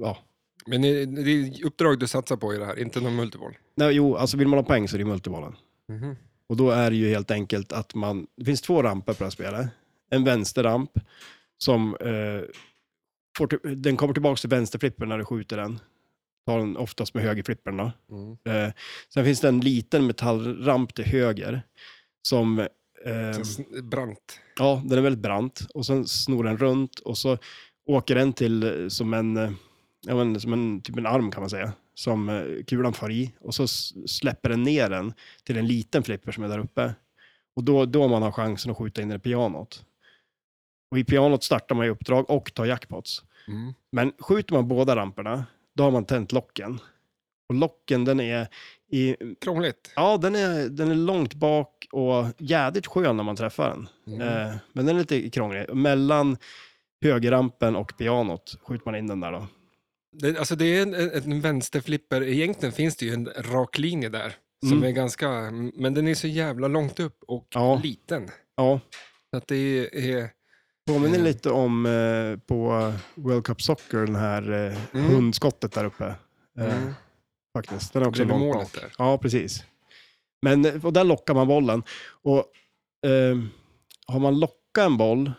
B: ja.
A: Men det är- det är uppdrag du satsar på i det här, inte någon multiboll.
B: Nej, jo, alltså vill man ha poäng så är det multibollen.
A: Mhm.
B: Och då är det ju helt enkelt att man... Det finns två ramper på det här spelet. En vänsterramp som... eh, får, till- den kommer tillbaka till vänsterflippen när du skjuter den. Tar den oftast med högerflippen då.
A: Mm.
B: Eh, sen finns det en liten metallramp till höger som... ehm,
A: Så sn- Brant.
B: Ja, den är väldigt brant och sen snor den runt och så åker den till eh, som en, eh, ja, men, som en, typ en arm kan man säga, som eh, kulan far i och så s- släpper den ner den till en liten flipper som är där uppe. Och då, då man har chansen att skjuta in den i pianot. Och i pianot startar man ju uppdrag och tar jackpots.
A: Mm.
B: Men skjuter man båda ramperna, då har man tänt locken. Och locken den är i,
A: Krångligt.
B: ja den är, den är långt bak och jädrigt skön när man träffar den.
A: Mm.
B: Eh, Men den är lite krånglig. Mellan högerrampen och pianot skjuter man in den där då.
A: Det, alltså det är en, en en vänsterflipper, egentligen finns det ju en rak linje där. Som
B: Mm.
A: är ganska, men den är så jävla långt upp och
B: Ja.
A: liten.
B: Ja,
A: Så att det är,
B: påminner
A: Mm.
B: lite om eh, på World Cup Soccer, den här eh,
A: Mm.
B: hundskottet där uppe. Eh,
A: mm.
B: Faktiskt, den är också
A: bredvid
B: långt
A: målet
B: bak.
A: där.
B: Ja, precis. Men, eh, och där lockar man bollen. Och eh, har man lockat en boll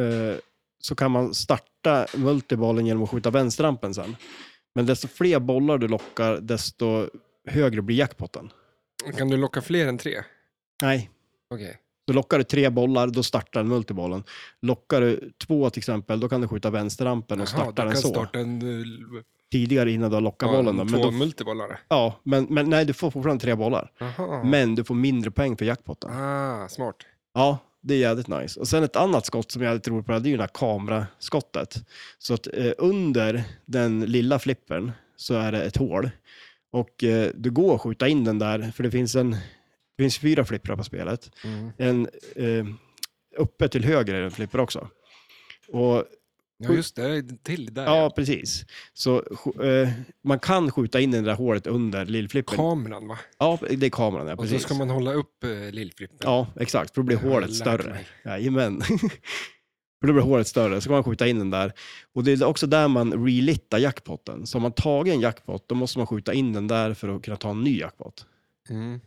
B: eh, så kan man starta multibollen genom att skjuta vänsterrampen sen. Men desto fler bollar du lockar, desto högre blir jackpotten.
A: Kan du locka fler än tre?
B: Nej,
A: Okej.
B: Så lockar du tre bollar, då startar den multibollen. Lockar du två till exempel, då kan du skjuta vänsterrampen och
A: Jaha, du
B: starta den
A: kan
B: så.
A: starta en, eh,
B: Tidigare innan du har lockat bollen. Då.
A: två
B: Men, då,
A: multibollare.
B: ja, men, men nej, du får fortfarande tre bollar.
A: Jaha.
B: Men du får mindre poäng för jackpotten.
A: Ah, smart.
B: Ja, det är jävligt nice. Och sen ett annat skott som jag tror på, det är ju det här kameraskottet. Så att eh, under den lilla flippern så är det ett hål. Och eh, du går att skjuta in den där, för det finns, en, det finns fyra flipprar på spelet.
A: Mm.
B: en eh, uppe till höger är den flipper också. Och,
A: Ja, just det. det är Till där.
B: ja,
A: Ja.
B: precis. Så sk- eh, man kan skjuta in i det där hålet under lillflippen.
A: Kameran, va?
B: ja, det är kameran, ja,
A: Och så
B: precis.
A: ska man hålla upp eh, lillflippen.
B: Ja, exakt. För då blir
A: Jag har
B: hålet
A: lärt
B: större.
A: mig.
B: Jajamän. för då blir hålet större, så kan man skjuta in den där. Och det är också där man relittar jackpotten. Så om man tagit en jackpot, då måste man skjuta in den där för att kunna ta en ny jackpot.
A: Mm.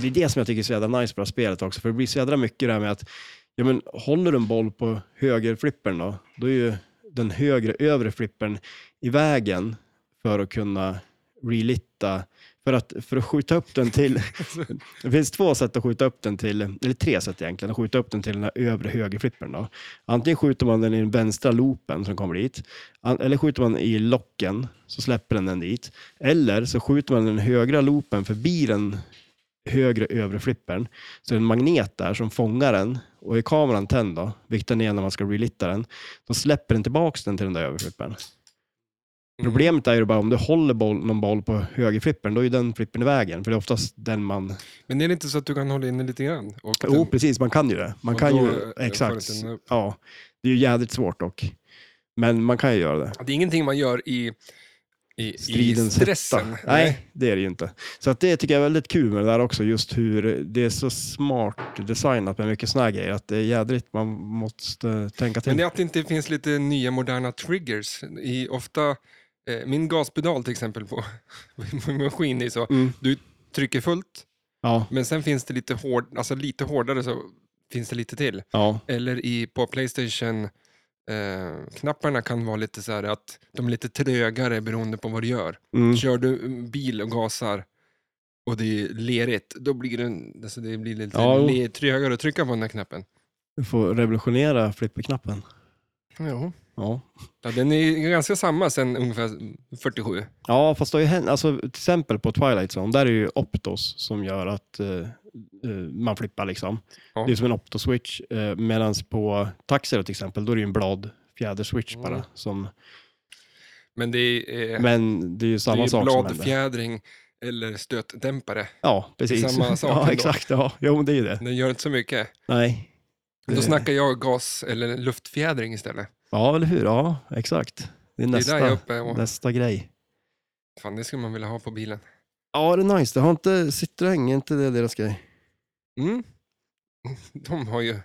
B: Det är det som jag tycker är så jävla nice på det här spelet också, för det blir så jävla mycket det här med att ja, men, håller du en boll på högerflippern då, då är ju den högre övre flippern i vägen för att kunna relitta, för att, för att skjuta upp den till, det finns två sätt att skjuta upp den till, eller tre sätt egentligen, att skjuta upp den till den här övre högerflippern då. Antingen skjuter man den i den vänstra loopen som kommer dit, an- eller skjuter man i locken så släpper den den dit, eller så skjuter man den högra loopen förbi den högre övre flippern. Så det är en magnet där som fångar den och är kameran tänd då, vilket den är när man ska relitta den, då släpper den tillbaks den till den där överflippern. Problemet är ju bara om du håller boll, någon boll på högerflippern, då är ju den flippern i vägen, för det är oftast den man...
A: Men är det inte så att du kan hålla inne lite grann? Och
B: Jo,
A: den-
B: precis, man kan ju det. Man
A: Typ. och
B: kan
A: då,
B: ju...
A: eh,
B: Exakt.
A: får den upp.
B: Ja, det är ju jädrigt svårt dock. Men man kan ju göra det.
A: Det är ingenting man gör i I, i
B: stridens
A: stressen.
B: hetta. Nej, det är det ju inte. Så att det tycker jag är väldigt kul med det där också, just hur det är så smart designat med mycket såna här grejer, att det är jädrigt man måste tänka till.
A: Men det är att det inte finns lite nya moderna triggers. I ofta, eh, min gaspedal till exempel på min maskin är så,
B: Mm.
A: du trycker fullt,
B: Ja,
A: men sen finns det lite, hård, alltså lite hårdare så finns det lite till.
B: ja,
A: Eller i, på Playstation, eh, knapparna kan vara lite så här att de är lite trögare beroende på vad du gör.
B: mm,
A: Kör du mm, bil och gasar och det är lerigt, då blir det, en- alltså det blir lite
B: Ja, jo.
A: le, trögare att trycka på den här knappen.
B: du får revolutionera flipperknappen.
A: Jo.
B: Ja.
A: Ja, den är ganska samma sen ungefär 47.
B: Ja, fast det har ju hänt, alltså, till exempel på Twilight Zone, där är det ju Optos som gör att eh, eh, man flippar liksom.
A: Ja.
B: Det är som en Opto-switch. Eh, Medan på Taxero till exempel, då är det ju en bladfjäder-switch bara.
A: Mm.
B: Som,
A: Men det är, eh,
B: men det är ju
A: det
B: samma
A: är ju
B: sak som händer.
A: bladfjädring eller stötdämpare.
B: Ja, precis.
A: samma sak
B: ja,
A: ändå.
B: exakt. Ja. Jo, men det är ju det.
A: Den gör inte så mycket.
B: Nej.
A: Då
B: Det-
A: snackar jag gas eller luftfjädring istället.
B: Ja, eller hur? Ja, exakt. Det är
A: Det är
B: nästa,
A: där jag är uppe och
B: nästa grej.
A: fan, det skulle man vilja ha på bilen.
B: Ja, det är nice. Det har inte Citroën, är inte det deras grej?
A: Mm. De har ju,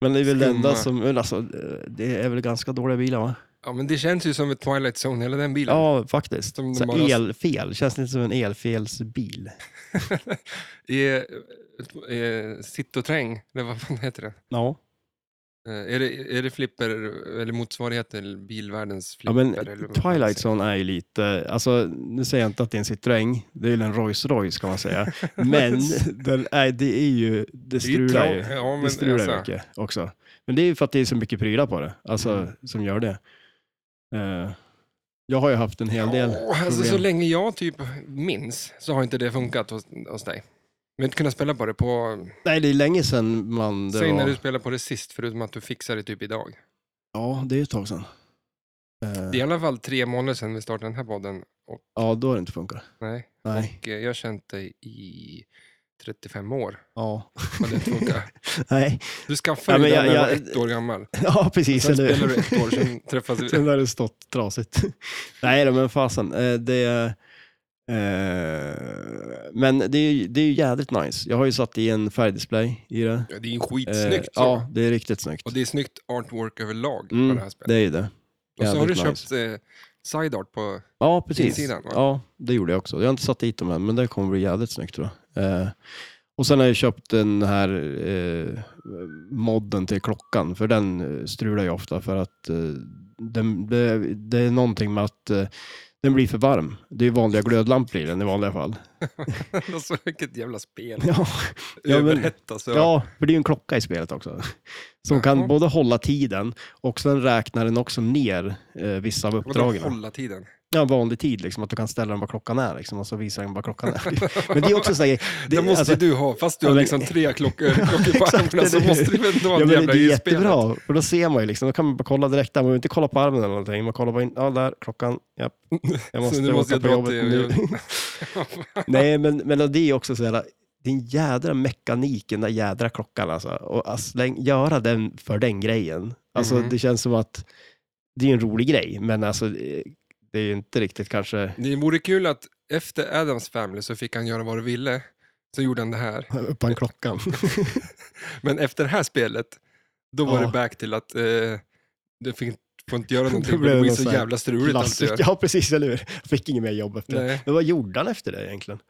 B: Men det är väl det
A: Skumma.
B: enda som, men alltså, eh, det är väl ganska dåliga bilar va?
A: ja men det känns ju som ett Twilight Zone, hela den bilen.
B: Ja, faktiskt.
A: Som de
B: Så
A: bara-
B: elfel, känns lite som en elfelsbil.
A: Är, är Citroën, eller vad fan heter det?
B: Ja.
A: Eh, Är det, är det flipper, eller motsvarighet till bilvärldens
B: ja,
A: flipper?
B: men
A: eller vad man
B: Twilight
A: säger?
B: Zone är ju lite, alltså nu säger jag inte att det är en Citroën, det är ju en Rolls Royce kan man säga. Men den är, det är ju, det
A: Det är ju
B: strular
A: tra-
B: ju.
A: Ja, men
B: Det strular ju
A: alltså,
B: mycket också. Men det är ju för att det är så mycket prylar på det, alltså
A: Mm.
B: som gör det. Eh, jag har ju haft en hel del.
A: Ja, alltså, så
B: problem.
A: länge jag typ minns så har inte det funkat hos, hos dig. Vi har inte kunnat spela på det på...
B: Nej, det är länge sedan man... Det
A: Säg
B: var,
A: när du spelade på det sist, förutom att du fixade det typ idag.
B: Ja, det är ett tag sedan. Eh,
A: Det är i alla fall tre månader sedan vi startade den här podden. Och,
B: Ja, då har det inte funkat.
A: nej, eh,
B: Nej.
A: jag har känt dig i 35 år.
B: Ja.
A: Och det funkar.
B: Nej.
A: Du skaffade
B: Ja, men
A: den när
B: jag-
A: jag var
B: jag-
A: ett år gammal.
B: Ja, precis.
A: Sen
B: eller hur?
A: spelade du ett år, sen träffades vi.
B: Sen har det stått trasigt. Nej då, men fasen. eh, Det, eh, men det är, ju- det är ju jädrigt nice. Jag har ju satt i en färgdisplay i det.
A: Ja, Det är ju
B: Eh,
A: skitsnyggt. så.
B: Ja, det är riktigt snyggt.
A: Och det är snyggt artwork överlag på
B: Mm,
A: det här spelet.
B: Det är ju det.
A: och så har du
B: jävligt
A: köpt eh, side art på...
B: Ja, precis.
A: Insidan, va?
B: ja, det gjorde jag också. Jag har inte satt dit dem än, men det kommer bli jädrigt snyggt tror jag. Eh, och sen har jag köpt den här eh, modden till klockan, för den eh, strular ju ofta för att eh, den, det, det är någonting med att eh, den blir för varm. Det är vanliga glödlampor i den i vanliga fall.
A: alltså vilket jävla spel. alltså.
B: Ja, Ja, men-
A: Överhettas. Ja,
B: ja för det är ju en klocka i spelet också. Som kan
A: Jaha.
B: både hålla tiden och sen räknar den också ner eh, vissa av
A: Vadå
B: uppdragen.
A: hålla tiden?
B: ja, vanlig tid, liksom, att du kan ställa den vad klockan är liksom, och så visar den vad klockan är. Men det är också en sån här grej.
A: Det,
B: det-
A: måste
B: alltså-
A: du ha, fast du
B: Ja,
A: har
B: men-
A: liksom tre klockor, klockor på armarna så
B: eller hur?
A: måste du väl ändå ha
B: Ja,
A: en
B: men
A: jävla
B: det är
A: i spelet.
B: jättebra, för då ser man ju liksom, då kan man bara kolla direkt där, man behöver inte kolla på armen eller någonting, man kollar bara in, ja där, klockan, ja, jag
A: Så
B: måste,
A: nu måste
B: åka
A: jag
B: på
A: dra
B: jobbet
A: till-
B: nu. Nej, men, men det är också så här, din jädra mekanik, den där jädra klockan alltså, och att släng, göra den för den grejen, alltså
A: Mhm.
B: det känns som att det är en rolig grej, men alltså eh, det är ju inte riktigt kanske
A: Det vore kul att efter Adams Family så fick han göra vad du ville. Så gjorde han det här.
B: uppan klockan.
A: Men efter det här spelet, då var
B: Ja.
A: det back till att eh, du fick, får inte göra någonting, för
B: blev
A: det
B: det
A: blir
B: någon
A: så
B: sån här
A: jävla struligt allt du
B: Klassik,
A: gör.
B: ja precis, eller hur? Jag Fick inget mer jobb efter det.
A: Nej.
B: Men vad gjorde han efter det egentligen?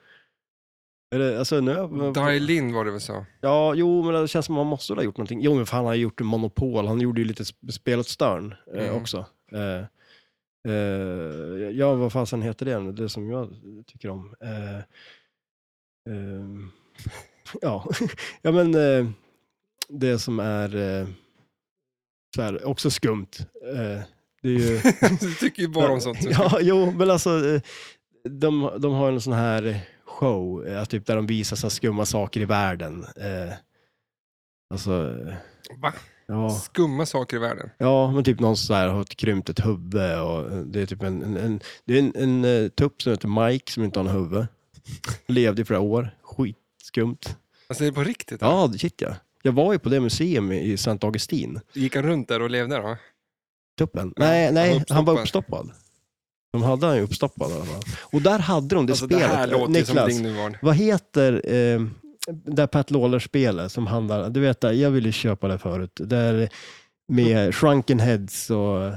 B: Är det, alltså, nu,
A: Dailin var det väl så?
B: Ja, jo, men det känns som att man måste ha gjort någonting. Jo, men fan, han har ju gjort Monopol. Han gjorde ju lite sp- Spel åt Störn eh,
A: Mm.
B: också. Eh, eh, ja, vad fasen heter det nu? Det som jag tycker om. Eh, ehm, ja. ja, men eh, det som är eh, så här, också skumt. Eh, det är ju...
A: du tycker ju bara om sånt. som-
B: Ja, jo, men alltså eh, de, de har en sån här show, eh, typ där de visar så här skumma saker i världen. Eh, alltså, eh,
A: Va?
B: ja,
A: Skumma saker i världen.
B: ja, men typ någon så här har ett krympt ett huvud och eh, det är typ en, en, en, det är en, en eh, tupp som heter Mike som inte har en huvud. Levde i flera år, skitskumt.
A: Alltså är det på riktigt? eller?
B: Ja, shit ja. Jag var ju på det museum i i Sankt Augustin.
A: Gick han runt där och levde då?
B: Tuppen?
A: Ja,
B: Nej,
A: han
B: nej,
A: var
B: han var
A: uppstoppad.
B: uppstoppad. De hade han ju uppstoppad i alla fall. Och där hade de det
A: Alltså, det
B: spelet.
A: här låter ju som
B: Niklas,
A: Ding Dong Dong.
B: vad heter eh, det där Pat Lawler-spelet som handlar, du vet, där, jag ville köpa det förut, där med Shrunken Heads och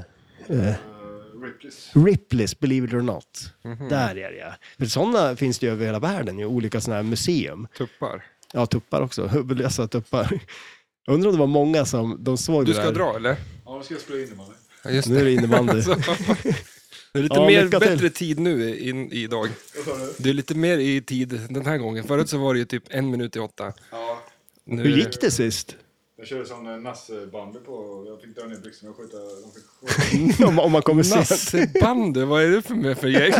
C: Eh,
B: Ripley's Believe It Or Not.
A: Mhm.
B: Där är det ja. För sådana finns det ju över hela världen, ju, olika sådana här museum.
A: Tuppar.
B: Ja, tuppar också, huvudlösa tuppar. Undrar om det var många som de såg
A: Du
B: det
A: ska
B: där.
A: dra eller?
C: Ja, då ska jag spela in det mannen.
A: Ja, just
B: Nu är
A: det.
B: det innebandy.
A: Så. Det är lite
B: Ja,
A: mer,
B: lycka till.
A: bättre tid nu i, in, idag.
C: Vad sa du?
A: Du är lite mer i tid den här gången. Förut så var det ju typ en minut i åtta.
C: Ja,
A: Nu
B: Hur
A: är
B: gick det sist?
C: jag körde som eh, Nasse Bambi på. Jag fick dra ner byxorna och skjuta. De fick skjuta.
B: om, om man kommer sist?
A: Nassebandy, vad är det för, med för gäng?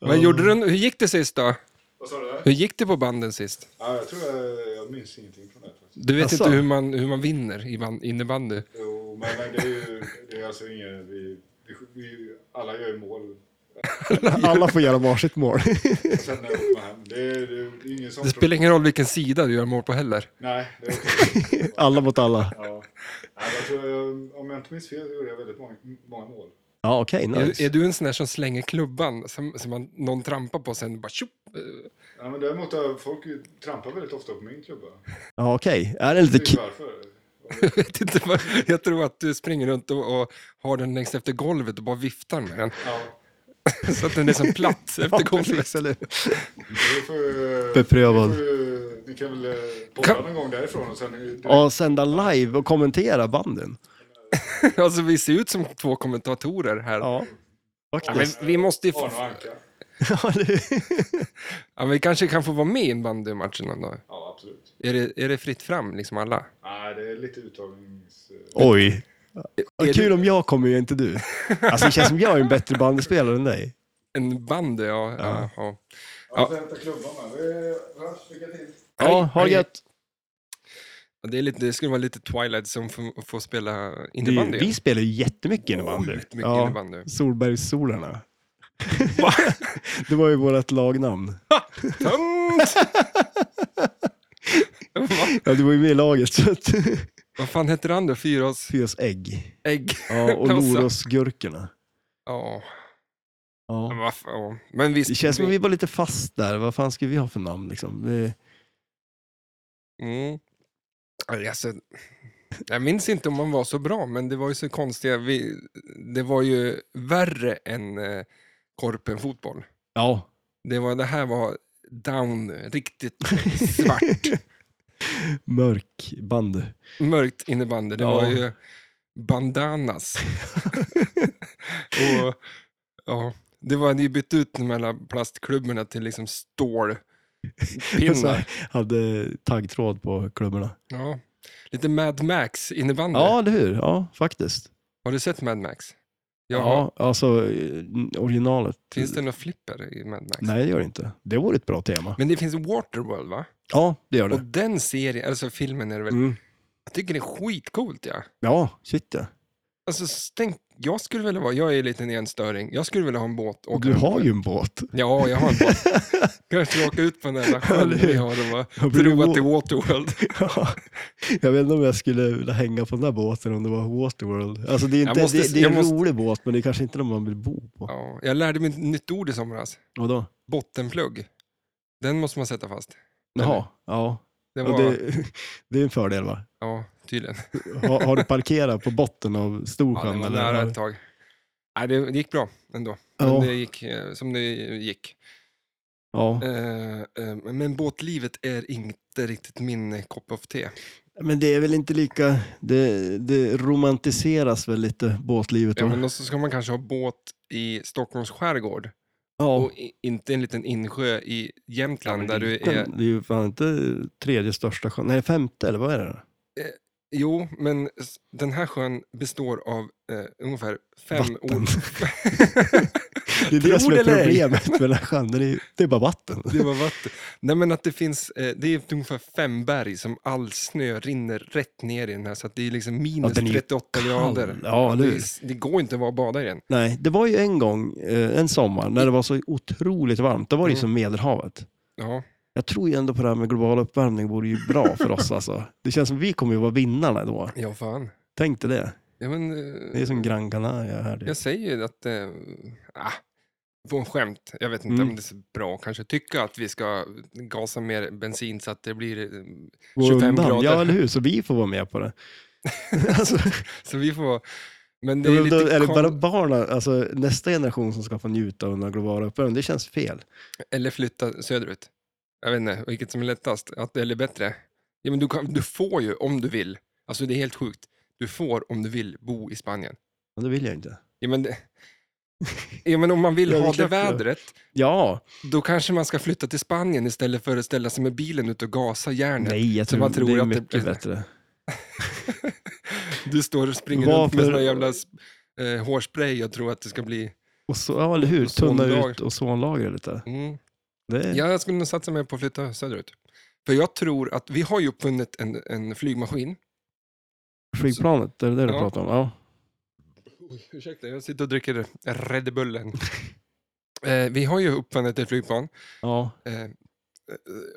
A: Vad gjorde du, hur gick det sist då?
C: Vad sa du? där?
A: Hur gick det på banden sist?
C: Ja, jag tror jag, jag minns ingenting från det här, faktiskt.
A: Du vet
B: Asså?
A: inte hur man, hur man vinner i ban- innebandy.
C: Jo, men det är ju, det är alltså inget, vi, vi, vi, alla gör ju mål.
B: Alla får göra varsitt mål.
C: Och sen åker man hem. Det är, det är ingen sån
A: Det spelar ingen roll vilken sida du gör mål på heller.
C: Nej, det är okej.
B: Alla mot alla.
C: Ja. Nej, jag tror jag, om jag inte minns fel gjorde jag väldigt många, många mål.
B: Ja, okej,
A: Är,
B: nice.
A: är du en sån där som slänger klubban som, som man, någon trampar på sen bara tjopp? eh,
C: Ja, men däremot har folk ju- trampar väldigt ofta på min klubba.
B: Ja, okej. Är det lite
C: Jag vet inte
B: kul?
C: varför.
A: Vet inte vad, jag tror att du springer runt och, och har den längst efter golvet och bara viftar med den.
C: Ja,
A: Så att den är som platt efter golvet.
C: det får, ju-
B: Beprövad.
C: det får ju- Ni kan väl eh, podda
A: Kan-
C: någon gång därifrån och sen...
B: Och sända live och kommentera banden.
A: Alltså vi ser ut som två kommentatorer här.
B: Ja,
A: Ja, men vi måste ju...
C: Arne och Anka.
B: Ja, det-
A: Ja, men vi kanske kan få vara med i innebandymatchen någon dag.
C: Ja, absolut.
A: Är det, är det fritt fram, liksom alla?
C: Nej, det är lite uttagnings... eh,
B: Oj. Vad
A: Är
B: kul
A: du-
B: om jag kommer ju inte du. Alltså det känns som jag är en bättre bandspelare än dig.
A: En bandy, ja. ja. ja.
C: Ja, får hämta klubban med. Vi hörs, lycka till.
B: Ja, ha det
A: Hej.
B: gött.
A: Ja, Det, är lite, det skulle vara lite Twilight som får, får spela
B: Det är ju-
A: innebandy.
B: Vi spelar ju jättemycket innebandy.
A: Otroligt mycket innebandy.
B: Solbergssolarna. det var ju vårt lagnamn.
A: Tönt! Va?
B: Ja, du var ju med i laget. Så att...
A: Vad fan heter han då? Fyras
B: Fyras ägg.
A: ägg?
B: Ja, och
A: Alltså.
B: Norosgurkorna.
A: Ja, men
B: Ja.
A: vad fan, ja. Men visst.
B: Det känns som att vi var lite fast där. Vad fan ska vi ha för namn liksom? Det-
A: Mm. Ja, Alltså, jag minns inte om man var så bra, men det var ju så konstiga... Vi, det var ju värre än eh, korpen fotboll.
B: Ja.
A: Det, var, det här var down, riktigt svart,
B: Mörk bandy.
A: mörkt innebandy. Det
B: Ja.
A: var ju bandanas. och, ja, det var hade ju bytt ut de här plastklubborna till liksom
B: Så
A: stålpinnar.
B: här, hade taggtråd på klubborna.
A: Ja. Lite Mad Max innebandy.
B: Ja, eller hur? Ja, faktiskt.
A: Har du sett Mad Max? Jag har.
B: Ja, alltså eh, originalet.
A: Finns det några flipper i Mad Max?
B: Nej, det gör det inte. Det vore ett bra tema.
A: Men det finns Waterworld va?
B: Ja, det gör
A: Och
B: det.
A: den serien, alltså filmen är det väl,
B: Mm.
A: jag tycker det är skitcoolt ja.
B: Ja, shit ja.
A: Alltså tänk, jag skulle vilja vara, jag är en liten enstöring, jag skulle vilja ha en båt. och
B: Och
A: åka
B: du
A: runt
B: har
A: med.
B: ju en båt.
A: Ja, jag har en båt. Kanske åka ut på den där jävla sjön vi har och bara
B: Jag blir
A: tro
B: vå-
A: att det är Waterworld.
B: Ja. jag vet inte om jag skulle vilja hänga på den där båten om det var Waterworld. Alltså det är,
A: Jag
B: inte,
A: måste-
B: det, det är en
A: jag måste-
B: rolig båt, men det är kanske inte den man vill bo på.
A: Ja, jag lärde mig ett nytt ord i somras,
B: Vadå?
A: bottenplugg. Den måste man sätta fast.
B: Jaha, ja.
A: Det
B: ja
A: var,
B: det, det är en fördel va?
A: ja tydligen.
B: Har, har du parkerat på botten av
A: Ja, det
B: Storsjön?
A: var
B: eller?
A: nära
B: har-
A: ett tag. Nej, det, det gick bra ändå. Men
B: Ja.
A: det gick eh, som det gick.
B: ja.
A: Eh, eh, men båtlivet är inte riktigt min kopp av te.
B: Men det är väl inte lika... Det, det romantiseras väl lite, båtlivet?
A: Ja,
B: va?
A: men också ska man kanske ha båt i Stockholms skärgård
B: ja.
A: och i, inte en liten insjö i
B: Ja,
A: Jämtland
B: men
A: där du
B: liten.
A: är...
B: Det är ju fan inte tredje största sjön. Nej, femte eller vad är det?
A: Jo, men s- den här sjön består av eh, ungefär fem
B: Vatten.
A: ord.
B: Det är
A: Tror
B: det som är
A: det eller ej?
B: problemet med den här sjön. Det är, det är bara vatten.
A: Det var vatten. Nej, men att det finns... Eh, det är ungefär fem berg som all snö rinner rätt ner i den här så att det är liksom minus
B: den är ju
A: 38 grader.
B: Kall. Ja, eller
A: Det,
B: hur?
A: är- det går inte att vara bada i den.
B: Nej, det var ju en gång, eh, en sommar, när det var så otroligt varmt. Då var det ju
A: Mm.
B: som Medelhavet.
A: Ja.
B: Jag tror ju ändå på det här med global uppvärmning vore ju bra för oss alltså. Det känns som vi kommer ju vara vinnarna då.
A: Ja, fan.
B: Tänk dig det.
A: Ja, men,
B: Det
A: eh,
B: är som Gran Canaria här.
A: jag
B: Det.
A: säger ju att... Eh, ah, på en skämt. Jag vet inte
B: Mm.
A: om det är så bra att kanske tycka att vi ska gasa mer bensin så att det blir... eh,
B: Gå
A: 25
B: undan.
A: grader.
B: Ja, eller hur? Så vi får vara med på det. alltså,
A: Så vi får... Men det
B: det
A: är
B: är
A: lite...
B: då, eller
A: kon-
B: bara barnen, alltså nästa generation som ska få njuta av den globala uppvärmningen, det känns fel.
A: Eller flytta söderut. Jag vet inte vilket som är lättast, att, eller bättre. Ja, men du, kan, du får ju om du vill. Alltså det är helt sjukt. Du får om du vill bo i Spanien.
B: Men det vill jag inte.
A: Ja, men, det, ja, men om man vill
B: Ja, det
A: ha det
B: släpper jag.
A: vädret,
B: Ja,
A: då kanske man ska flytta till Spanien istället för att ställa sig med bilen ut och gasa järnet.
B: nej, jag
A: Så
B: tror,
A: man tror
B: det är
A: att det
B: mycket
A: blir-
B: bättre.
A: Du står och springer runt
B: Varför-
A: med såna jävla eh, hårspray och tror att det ska bli...
B: Och så, ja, eller hur? Tunna
A: Ozonlager.
B: ut ozonlagret lite.
A: Mm.
B: Det är...
A: Ja, jag skulle nog satsa mig på att flytta söderut. För jag tror att vi har ju uppfunnit en, en flygmaskin.
B: Flygplanet, det är det du
A: Ja.
B: pratar om? Ja.
A: Oj, Ursäkta, jag sitter och dricker Red Bullen. eh, vi har ju uppfunnit ett flygplan
B: ja.
A: eh, eh,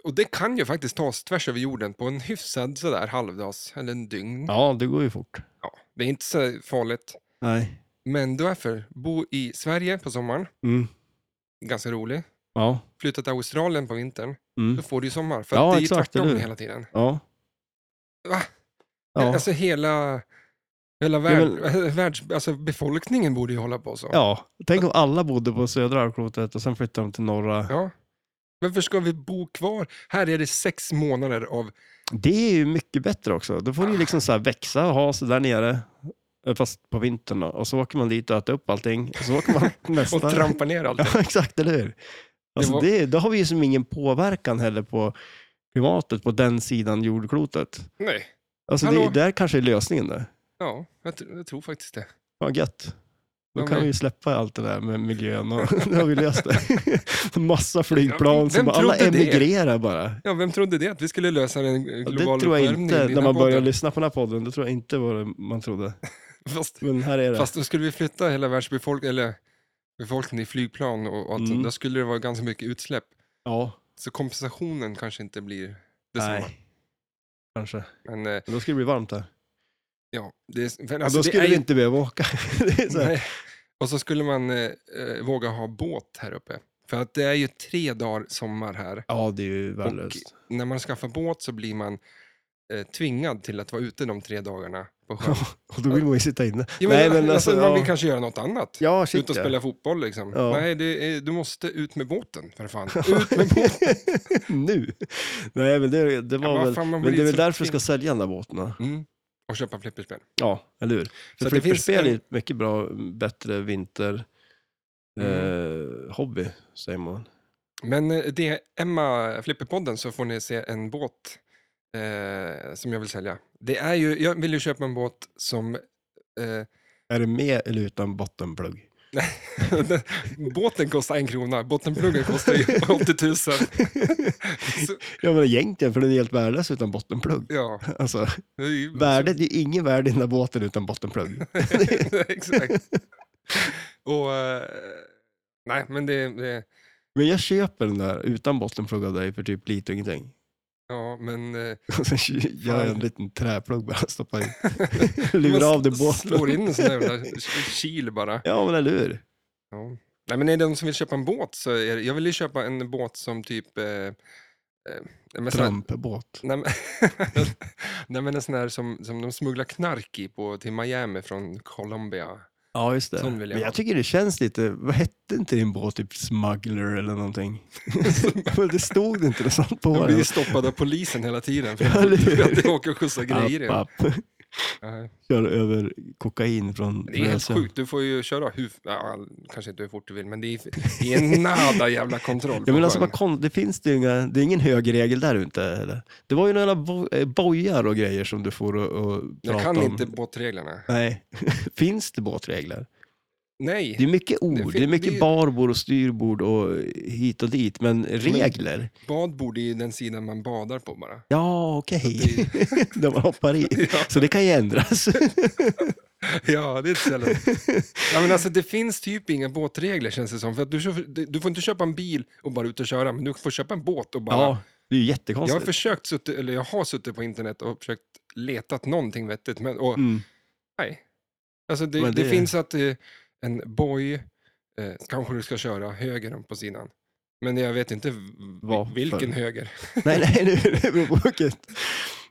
A: och det kan ju faktiskt tas tvärs över jorden på en hyfsad sådär halvdags eller en dygn.
B: Ja, det går ju fort.
A: Ja, det är inte så farligt.
B: Nej.
A: Men därför, bo i Sverige på sommaren,
B: Mm.
A: ganska rolig.
B: Ja.
A: Flytta till Australien på vintern,
B: Mm.
A: då får du ju sommar. För
B: Ja,
A: att det är ju
B: exakt, eller
A: tvärtom
B: hur?
A: hela tiden.
B: Ja.
A: Va?
B: Ja.
A: Alltså hela, hela värld,
B: men-
A: världs, alltså befolkningen borde ju hålla på så.
B: ja. Tänk om alla bodde på södra halvklotet och sen flyttade de till norra.
A: Ja. Varför ska vi bo kvar? Här är det sex månader av...
B: Det är ju mycket bättre också. Då får det ju liksom så här växa och ha sig där nere. eh, Fast på vintern då. Och så åker man dit och äter upp allting. Och så åker man nästa.
A: Och trampa ner allt.
B: Ja, exakt, eller hur? Alltså
A: var-
B: det, då har vi ju som ingen påverkan heller på klimatet på den sidan jordklotet.
A: Nej.
B: Alltså det,
A: Hallå?
B: där kanske är lösningen där.
A: Ja, jag, tr- jag tror faktiskt det.
B: Vad gött. Då
A: Ja,
B: kan
A: men-
B: vi ju släppa allt det där med miljön och då har vi löst det. Massa flygplan som
A: Vem
B: bara, alla
A: trodde det?
B: emigrerar bara.
A: Ja, vem trodde det? Att vi skulle lösa eh, den
B: Ja,
A: globala
B: det tror jag
A: uppvärmningen i
B: inte,
A: den
B: när
A: här
B: man börjar
A: podden?
B: lyssna på den här podden, det tror jag inte var det man trodde.
A: Fast,
B: Men här är det.
A: fast då skulle vi flytta hela världsbefolkningen, eller befolkningen i flygplan och och allt.
B: Mm.
A: Då skulle det vara ganska mycket utsläpp.
B: ja,
A: Så kompensationen kanske inte blir detsamma.
B: nej. Kanske.
A: Men eh,
B: Men då skulle det bli varmt där.
A: ja, det, är- men
B: Ja,
A: alltså,
B: då
A: det
B: skulle
A: är
B: vi
A: ju-
B: inte behöva åka. det är så här.
A: Nej. Och så skulle man eh, eh, våga ha båt här uppe. För att det är ju tre dagar sommar här.
B: Ja, det är ju
A: Och
B: värdelöst.
A: när man skaffar båt så blir man eh, tvingad till att vara ute de tre dagarna på sjön.
B: Och då vill man ju sitta inne.
A: Jo, men,
B: Nej, men
A: alltså,
B: alltså,
A: man
B: ja.
A: vill kanske göra något annat.
B: Ja,
A: Ut
B: shit
A: och spela fotboll liksom.
B: Ja.
A: Nej, det är, du måste ut med båten för fan.
B: ja.
A: Ut med båten.
B: nu. Nej, men det, det var
A: Ja, vad
B: väl...
A: fan, man
B: Men
A: blir
B: det är väl
A: så
B: därför vi
A: fin.
B: ska sälja den där båten. va?
A: Mm. Och köpa flipperspel.
B: Ja, eller hur?
A: Så
B: För
A: att det finns
B: flipperspel är
A: en-
B: ett mycket bra, bättre vinter... Eh, hobby, säger man.
A: Men eh, det Emma Flipperpodden så får ni se en båt eh, som jag vill sälja. Det är ju, jag vill ju köpa en båt som eh,
B: Är det med eller utan bottenplugg?
A: Båten kostar en krona, bottenpluggen kostar ju 80 000. Så,
B: Ja, men egentligen, för den är helt värdelös utan bottenplugg.
A: ja,
B: Alltså,
A: det är ju-
B: värdet är ju ingen värde i den där båten utan bottenplugg.
A: Exakt. Och, eh, nej, men det, det
B: Men jag köper den där utan bottenplugg av dig för typ lite och ingenting.
A: ja, men... eh,
B: Och sen gör jag en
A: Fan.
B: liten träplugg bara, stoppar in. Lurar
A: man
B: av dig
A: s-
B: båten.
A: Slår in en sån där jävla kil bara.
B: Ja, men eller hur?
A: Ja. Nej, men är det någon som vill köpa en båt så är det, jag vill ju köpa en båt som typ... Eh, eh, men sån här-
B: Trampbåt.
A: Nej, men, nej, men en sån här som, som de smugglar knark i på, till Miami från Colombia.
B: Ja, just det.
A: Sån vill jag
B: men jag
A: ha.
B: tycker det känns lite, vad hette inte din båt, typ smuggler eller någonting? Men det stod det inte något sånt på
A: De blir
B: den.
A: ju stoppade av polisen hela tiden för
B: Ja, eller
A: att- för
B: hur?
A: att de åker och skjutsar grejer. i.
B: App, app.
A: Ja.
B: Kör över kokain från
A: Det är helt
B: rälsen.
A: sjukt, du får ju köra hur, ja, kanske inte hur fort du vill, men det är, det är en nada jävla kontroll på
B: Ja, men alltså,
A: sjön.
B: vad kon- det finns ju inga, det är ingen hög regel där ute eller? Det var ju några bo- eh, bojar och grejer som du får och, och
A: Jag
B: prata
A: kan
B: om.
A: inte båtreglerna.
B: Nej. finns det båtregler? Det
A: Nej,
B: är mycket ord,
A: fin-
B: det, är mycket
A: det är-
B: barbord och styrbord och hit och dit, men regler?
A: badbord är ju den sidan man badar på bara.
B: Ja, okej. När man hoppar i.
A: Ja.
B: Så det kan ju ändras.
A: Ja, det är ett ställe. ja, men alltså, det finns typ inga båtregler känns det som. För att du, kör- du får inte köpa en bil och bara ut och köra, men du får köpa en båt och bara...
B: Ja, det är ju
A: jag har
B: jättekonstigt.
A: försökt, suttit, eller jag har suttit på internet och försökt letat någonting vettigt, men och,
B: Mm.
A: nej. Alltså det, det...
B: Men det-
A: finns att eh, en boj eh, kanske du ska köra höger om på sidan. Men jag vet inte v-
B: Varför?
A: vilken höger.
B: Nej, nej, nu det beror på vilket.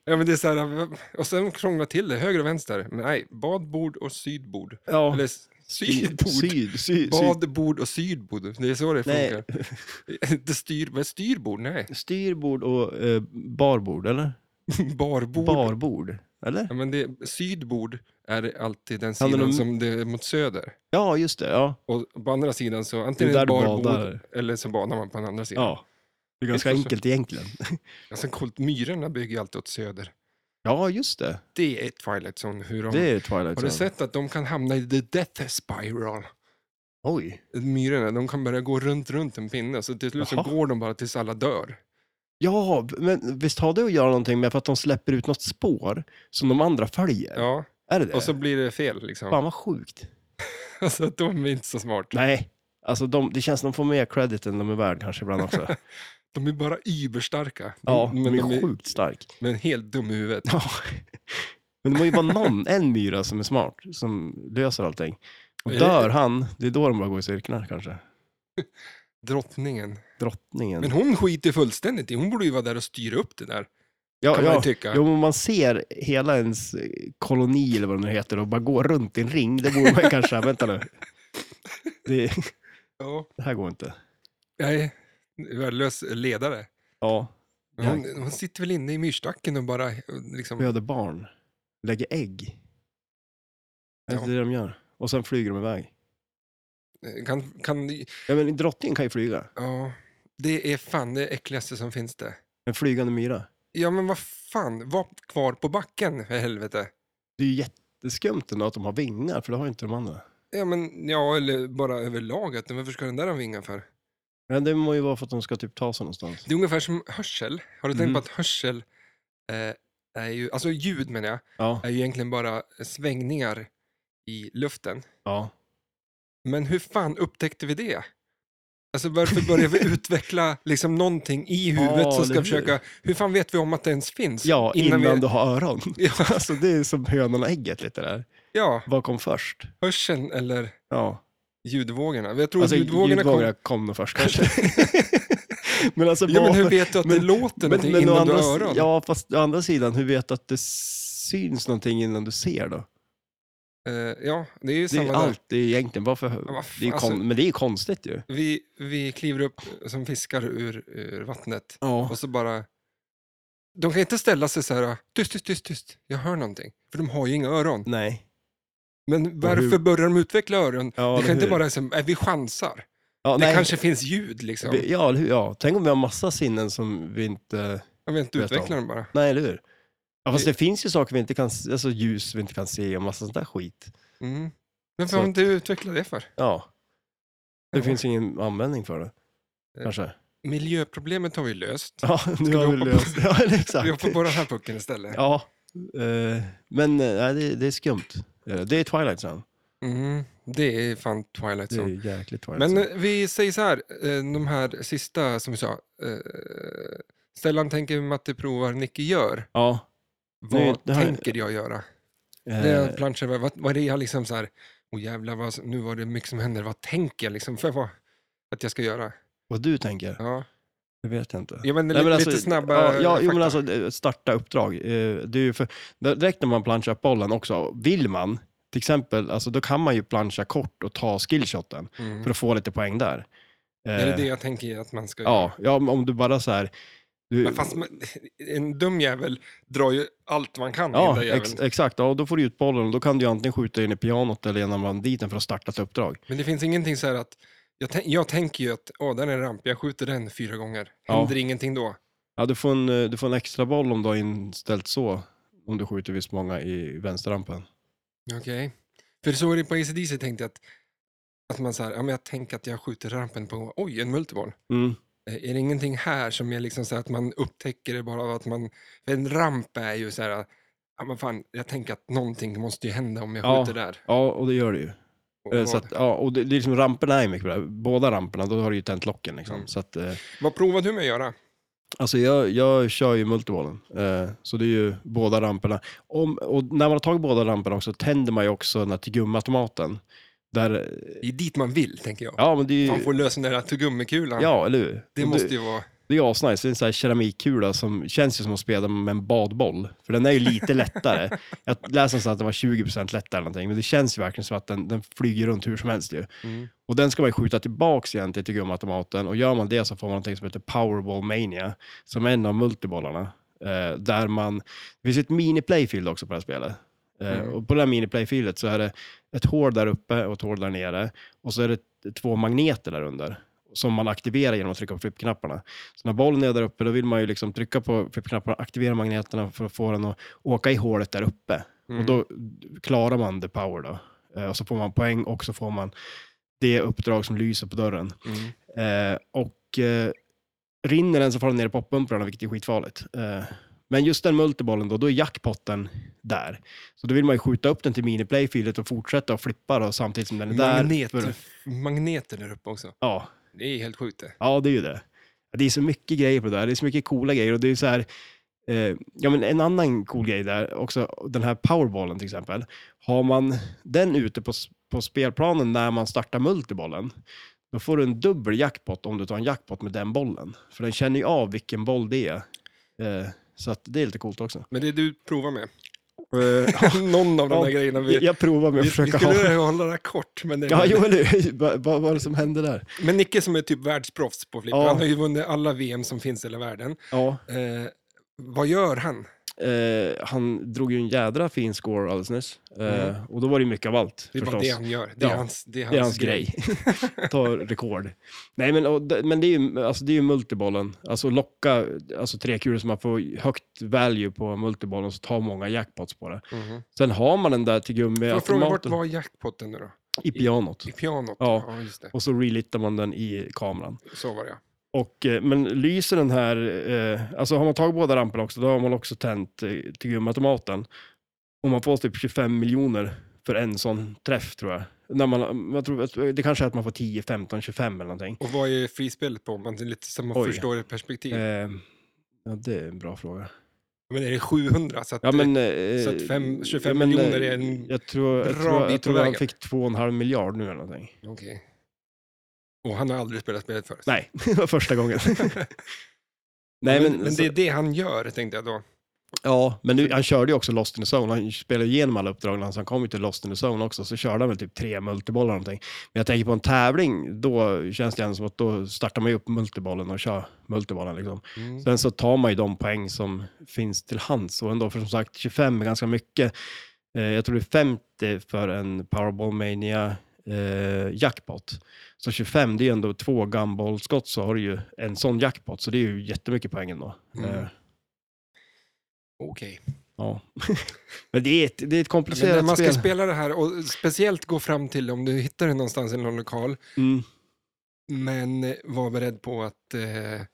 A: Ja, men det är så här, eh, v- och sen krångla till det, höger och vänster. Men nej, badbord och sydbord.
B: Ja.
A: Eller s- sydbord.
B: Syd, syd, syd.
A: Badbord och sydbord, det är så det
B: Nej.
A: funkar. Det styr, men styrbord, nej.
B: Styrbord och eh, barbord, eller?
A: Barbord.
B: Barbord, eller?
A: Ja, men det, sydbord är alltid den
B: Handlar
A: sidan
B: det om-
A: som det är mot söder.
B: Ja, just det. Ja.
A: Och på andra sidan så antingen
B: Det är
A: är
B: där
A: det
B: du
A: barbord
B: badar.
A: eller så badar man på den andra sidan.
B: ja. Det är ganska
A: Visst,
B: enkelt egentligen.
A: Ja. Sen coolt, myrorna bygger ju alltid åt söder.
B: Ja, just det.
A: Det är Twilight Zone, hur de...
B: Det är Twilight
A: Har du
B: Zone.
A: sett att de kan hamna i the death spiral?
B: Oj.
A: Myrorna, de kan börja gå runt, runt en pinne. Så till slut så
B: Jaha.
A: går de bara tills alla dör.
B: Ja, men visst har det att göra någonting med för att de släpper ut något spår som de andra följer?
A: Ja,
B: Är det det?
A: och så blir det fel liksom.
B: Fan vad sjukt.
A: Alltså, de är inte så smarta.
B: Nej, alltså de, det känns som de får mer credit än de är värd kanske ibland också.
A: De är bara überstarka.
B: Ja,
A: men
B: de är sjukt stark.
A: men helt dum i huvudet.
B: Ja. Men det måste ju vara någon, en myra som är smart, som löser allting. Och
A: Eh.
B: dör han, det är då de bara går i cirklar kanske.
A: Drottningen.
B: Drottningen.
A: Men hon skiter fullständigt i. Hon borde ju vara där och styra upp det där.
B: ja,
A: Kan man
B: ja.
A: ju tycka.
B: Jo, men man ser hela ens eh, koloni eller vad det nu heter och bara går runt i en ring. Det borde man ju kanske, vänta nu. Det,
A: Ja.
B: det här går inte.
A: Nej, värdelös ledare.
B: Ja,
A: Men Hon, hon sitter väl inne i myrstacken och bara eh, liksom...
B: föder barn, lägger ägg. Det är
A: Ja.
B: det de gör. Och sen flyger de iväg.
A: Kan, kan,
B: Ja, men drottningen kan ju flyga.
A: ja, det är fan det äckligaste som finns det.
B: En flygande myra.
A: Ja, men vad fan. Var kvar på backen, för helvete.
B: Det är ju jätteskumt ändå att de har vingar, för det har ju inte de andra.
A: Ja, men ja, eller bara överlag. Att, varför ska den där ha vingar för?
B: Men det må ju vara för att de ska typ ta sig någonstans.
A: Det är ungefär som hörsel. Har du
B: Mm.
A: tänkt på att hörsel eh, är ju, alltså ljud menar jag,
B: Ja,
A: är ju egentligen bara svängningar i luften.
B: ja.
A: Men hur fan upptäckte vi det? Alltså varför börjar vi utveckla liksom någonting i huvudet
B: Ja,
A: som ska
B: eller hur?
A: försöka... Hur fan vet vi om att det ens finns?
B: ja innan,
A: vi,
B: du har öron.
A: Ja,
B: Alltså det är som hönan och ägget lite där.
A: ja,
B: Vad kom först?
A: hörseln eller
B: Ja.
A: ljudvågorna. Jag tror
B: Alltså
A: ljudvågorna,
B: ljudvågorna kom, nog först kanske. men alltså,
A: kom... Ja, men hur
B: varför-
A: vet du att det
B: men-
A: låter någonting
B: å
A: innan du
B: andra,
A: har öron?
B: Ja, fast å andra sidan, hur vet du att det syns någonting innan du ser då?
A: Eh, ja, det är ju
B: Det är
A: samma
B: ju
A: där.
B: allt, det är egentligen varför...
A: Ja, vad fan,
B: det är ju kon,
A: alltså.
B: men det är ju konstigt ju.
A: Vi, vi kliver upp som fiskar ur, ur vattnet
B: Ja.
A: och så bara... De kan inte ställa sig så här, tyst, tyst, tyst, tyst, jag hör någonting. För de har ju inga öron.
B: Nej.
A: Men
B: hur-
A: varför börjar de utveckla öron?
B: Ja,
A: det
B: eller
A: kan inte
B: hur?
A: bara liksom, "Nej, vi chansar.
B: Ja,
A: Det
B: nej.
A: kanske finns ljud liksom.
B: Vi- Ja, eller hur? Ja. Tänk om vi har massa sinnen som vi inte...
A: Jag vet inte,
B: vet
A: utveckla
B: om.
A: dem bara.
B: Nej, eller hur? Ja, fast
A: Vi-
B: det finns ju saker vi inte kan... se- Alltså ljus vi inte kan se och massa sånt där skit.
A: Mm. Varför
B: Så
A: har
B: att-
A: inte utvecklat det för?
B: Ja. Det
A: Ja.
B: finns ingen användning för det. Kanske.
A: Miljöproblemet har vi löst.
B: Ja, nu
A: Eh, vi
B: har vi
A: hoppa på-
B: löst Ja, eller
A: Vi
B: exakt.
A: hoppar på den här pucken istället.
B: Ja. eh, men eh, nej, det, det är skumt. Det är det. Det är Twilight Zone.
A: Mm. Det är fan Twilight
B: Det är
A: Zone.
B: ju jäkligt Twilight
A: Men
B: Zone.
A: eh, vi säger så här, eh, de här sista som vi sa. Eh, Stellan tänker Matte provar, Nicky gör.
B: Ja.
A: Vad
B: Nu- det här-
A: tänker jag göra?
B: eh,
A: Det är planscher, vad, vad är det jag liksom så här, oh jävlar, vad, nu var det mycket som händer, vad tänker jag liksom för vad, att jag ska göra?
B: Vad du tänker?
A: Ja,
B: Det vet jag inte.
A: ja men,
B: Nej, men
A: lite
B: alltså,
A: snabba
B: Ja, ja jo, men
A: fakta.
B: alltså eh, starta uppdrag. Eh, Det är ju för, direkt när man planchar upp bollen också, vill man, till exempel, alltså, då kan man ju plancha kort och ta skillshoten
A: Mm.
B: för att få lite poäng där. Eh,
A: Är det det jag tänker att man ska göra?
B: Ja, ja, om om du bara så här... Du,
A: Men fast man, en dum jävel drar ju allt man kan i den
B: ja,
A: där
B: ex,
A: jäveln.
B: exakt. Ja, och då får du ut bollen och då kan du ju antingen skjuta in i pianot eller genom banditen för att starta ett uppdrag.
A: Men det finns ingenting så här att, jag, tän- jag tänker ju att, åh den är en ramp, jag skjuter den fyra gånger.
B: Ja.
A: Händer ingenting då?
B: Ja, du, får en, eh, du får en extra boll om du har inställt så, om du skjuter visst många i vänsterrampen.
A: Okej. För så är det på ACDC tänkte jag att, att man så här, ja men jag tänker att jag skjuter rampen på, oj en multiboll.
B: Mm.
A: Eh, Är det ingenting här som är liksom så här att man upptäcker det bara av att man... För en ramp är ju så här... Ja, men fan, jag tänker att någonting måste ju hända om jag
B: Ja.
A: skjuter där.
B: Ja, och det gör det ju.
A: Och
B: Eh,
A: vad-
B: Så att, ja, och det, det är liksom ramperna är mycket bra. Båda ramperna, då har du ju tänt locken liksom.
A: Mm.
B: Så att, eh,
A: Vad provar du med att göra?
B: Alltså jag, jag kör ju multiballen, eh, så det är ju båda ramperna. Om, och när man har tagit båda ramperna också tänder man ju också den här tuggummiautomaten. Där,
A: Det är dit man vill, tänker jag.
B: ja men det är
A: Man får
B: ju,
A: lösa den där tuggummikulan.
B: ja eller hur?
A: Det
B: Och
A: måste ju vara...
B: Det är asnice, det är en sån här keramikkula som känns ju som att spela med en badboll. För den är ju lite lättare. Jag läste någonstans att den var 20% lättare eller någonting, men det känns ju verkligen som att den, den flyger runt hur som helst ju.
A: Mm.
B: Och den ska man ju skjuta tillbaks egentligen till gummiautomaten och gör man det så får man någonting som heter Powerball Mania, som är en av multibollarna. Eh, där man, det finns ju ett mini-playfield också på det här spelet. Eh,
A: Mm.
B: Och på det här mini-playfieldet så är det ett hål där uppe och ett hål där nere. Och så är det t- två magneter där under som man aktiverar genom att trycka på flippknapparna. Så när bollen är där uppe då vill man ju liksom trycka på flippknapparna, aktivera magneterna för att få den att åka i hålet där uppe. Och då klarar man the power då. Eh, och så får man poäng och så får man det uppdrag som lyser på dörren.
A: Mm.
B: Eh, och eh, rinner den så får den ner i poppumprarna, vilket är skitfarligt. Eh, men just den multibollen då, då är jackpotten där. Så då vill man ju skjuta upp den till miniplayfieldet och fortsätta att flippa då, samtidigt som den är där.
A: Magneter. Magneter där uppe också.
B: Ja,
A: Det är helt sjukt det.
B: ja, det är ju det. Det är så mycket grejer på det där. Det är så mycket coola grejer. Och det är så här, eh, ja, men en annan cool grej där, också den här powerbollen till exempel. Har man den ute på, s- på spelplanen när man startar multibollen, då får du en dubbel jackpot om du tar en jackpot med den bollen. För den känner ju av vilken boll det är. Eh, så att det är lite coolt också.
A: Men det är du provar med.
B: Eh,
A: Någon av de
B: Ja,
A: där grejerna. Vi,
B: jag, jag provar med
A: vi,
B: att
A: vi
B: försöka
A: skulle
B: ha...
A: hålla det här kort. Men, det,
B: Ja, jo, eller hur? Vad vad var det som hände där?
A: men Nicke som är typ världsproffs på flipper,
B: Ja.
A: han har ju vunnit alla VM som finns i hela världen.
B: Ja,
A: Eh, vad gör han?
B: Eh, han drog ju en jädra fin score alldeles nyss. Eh,
A: Mm.
B: Och då var det ju mycket av allt
A: Det är
B: förstås.
A: bara det han gör. Det är
B: Ja,
A: hans, det är hans,
B: det är hans grej. Ta rekord. Nej, men, och, det- men det är ju, alltså, det är ju multibollen. Alltså locka alltså, tre kulor som man får högt value på multibollen så tar många jackpots på det.
A: Mhm.
B: Sen har man den där till
A: Får jag fråga, vart
B: gummiautomaten
A: var jackpotten nu då?
B: i pianot.
A: I pianot?
B: Ja.
A: ja just det.
B: Och så relittar man den i kameran.
A: Så var det ja.
B: Och, eh, men lyser den här, eh, alltså har man tagit båda ramperna också, då har man också tänt eh, till gummiautomaten. Och man får typ 25 miljoner för en sån träff tror jag. När man, jag tror, att- det kanske är att man får 10, 15, 25 eller någonting.
A: Och vad är frispelet på? Man, lite så man
B: Oj.
A: förstår ett perspektiv.
B: Eh, ja, det är en bra fråga.
A: Men är det 700? Så att
B: Ja,
A: det-
B: men, eh,
A: så att fem- 25
B: ja, men, eh,
A: miljoner är en
B: Jag tror, jag
A: bra
B: tror,
A: bit
B: jag
A: på
B: tror han
A: vägen.
B: fick 2,5 miljard nu eller någonting.
A: Okej. Och han har aldrig spelat spelet förut?
B: Nej, det var första gången. Nej,
A: men,
B: men,
A: men, det är det han gör, tänkte jag då.
B: Ja, men nu, han körde ju också Lost in the Zone. Han spelade ju igenom alla uppdragen, så han kom ju till Lost in the Zone också. Så körde han väl typ tre multibollar eller någonting. Men jag tänker på en tävling, då känns det ändå som att då startar man ju upp multibollen och kör multibollen liksom. Sen så tar man ju de poäng som finns till hands. Och ändå, för som sagt, 25 är ganska mycket. Eh, jag tror det är 50 för en Powerball Mania eh, jackpot. Så 25, det är ju ändå två gumball-skott så har du ju en sån jackpot. Så det är ju jättemycket poäng ändå.
A: Mm.
B: Eh,
A: Okej.
B: Ja. Men det är ett, det är ett
A: Men när
B: komplicerat
A: man ska
B: spel.
A: spela det här, och speciellt gå fram till om du hittar det någonstans i någon lokal,
B: Mm.
A: men eh, var beredd på att eh,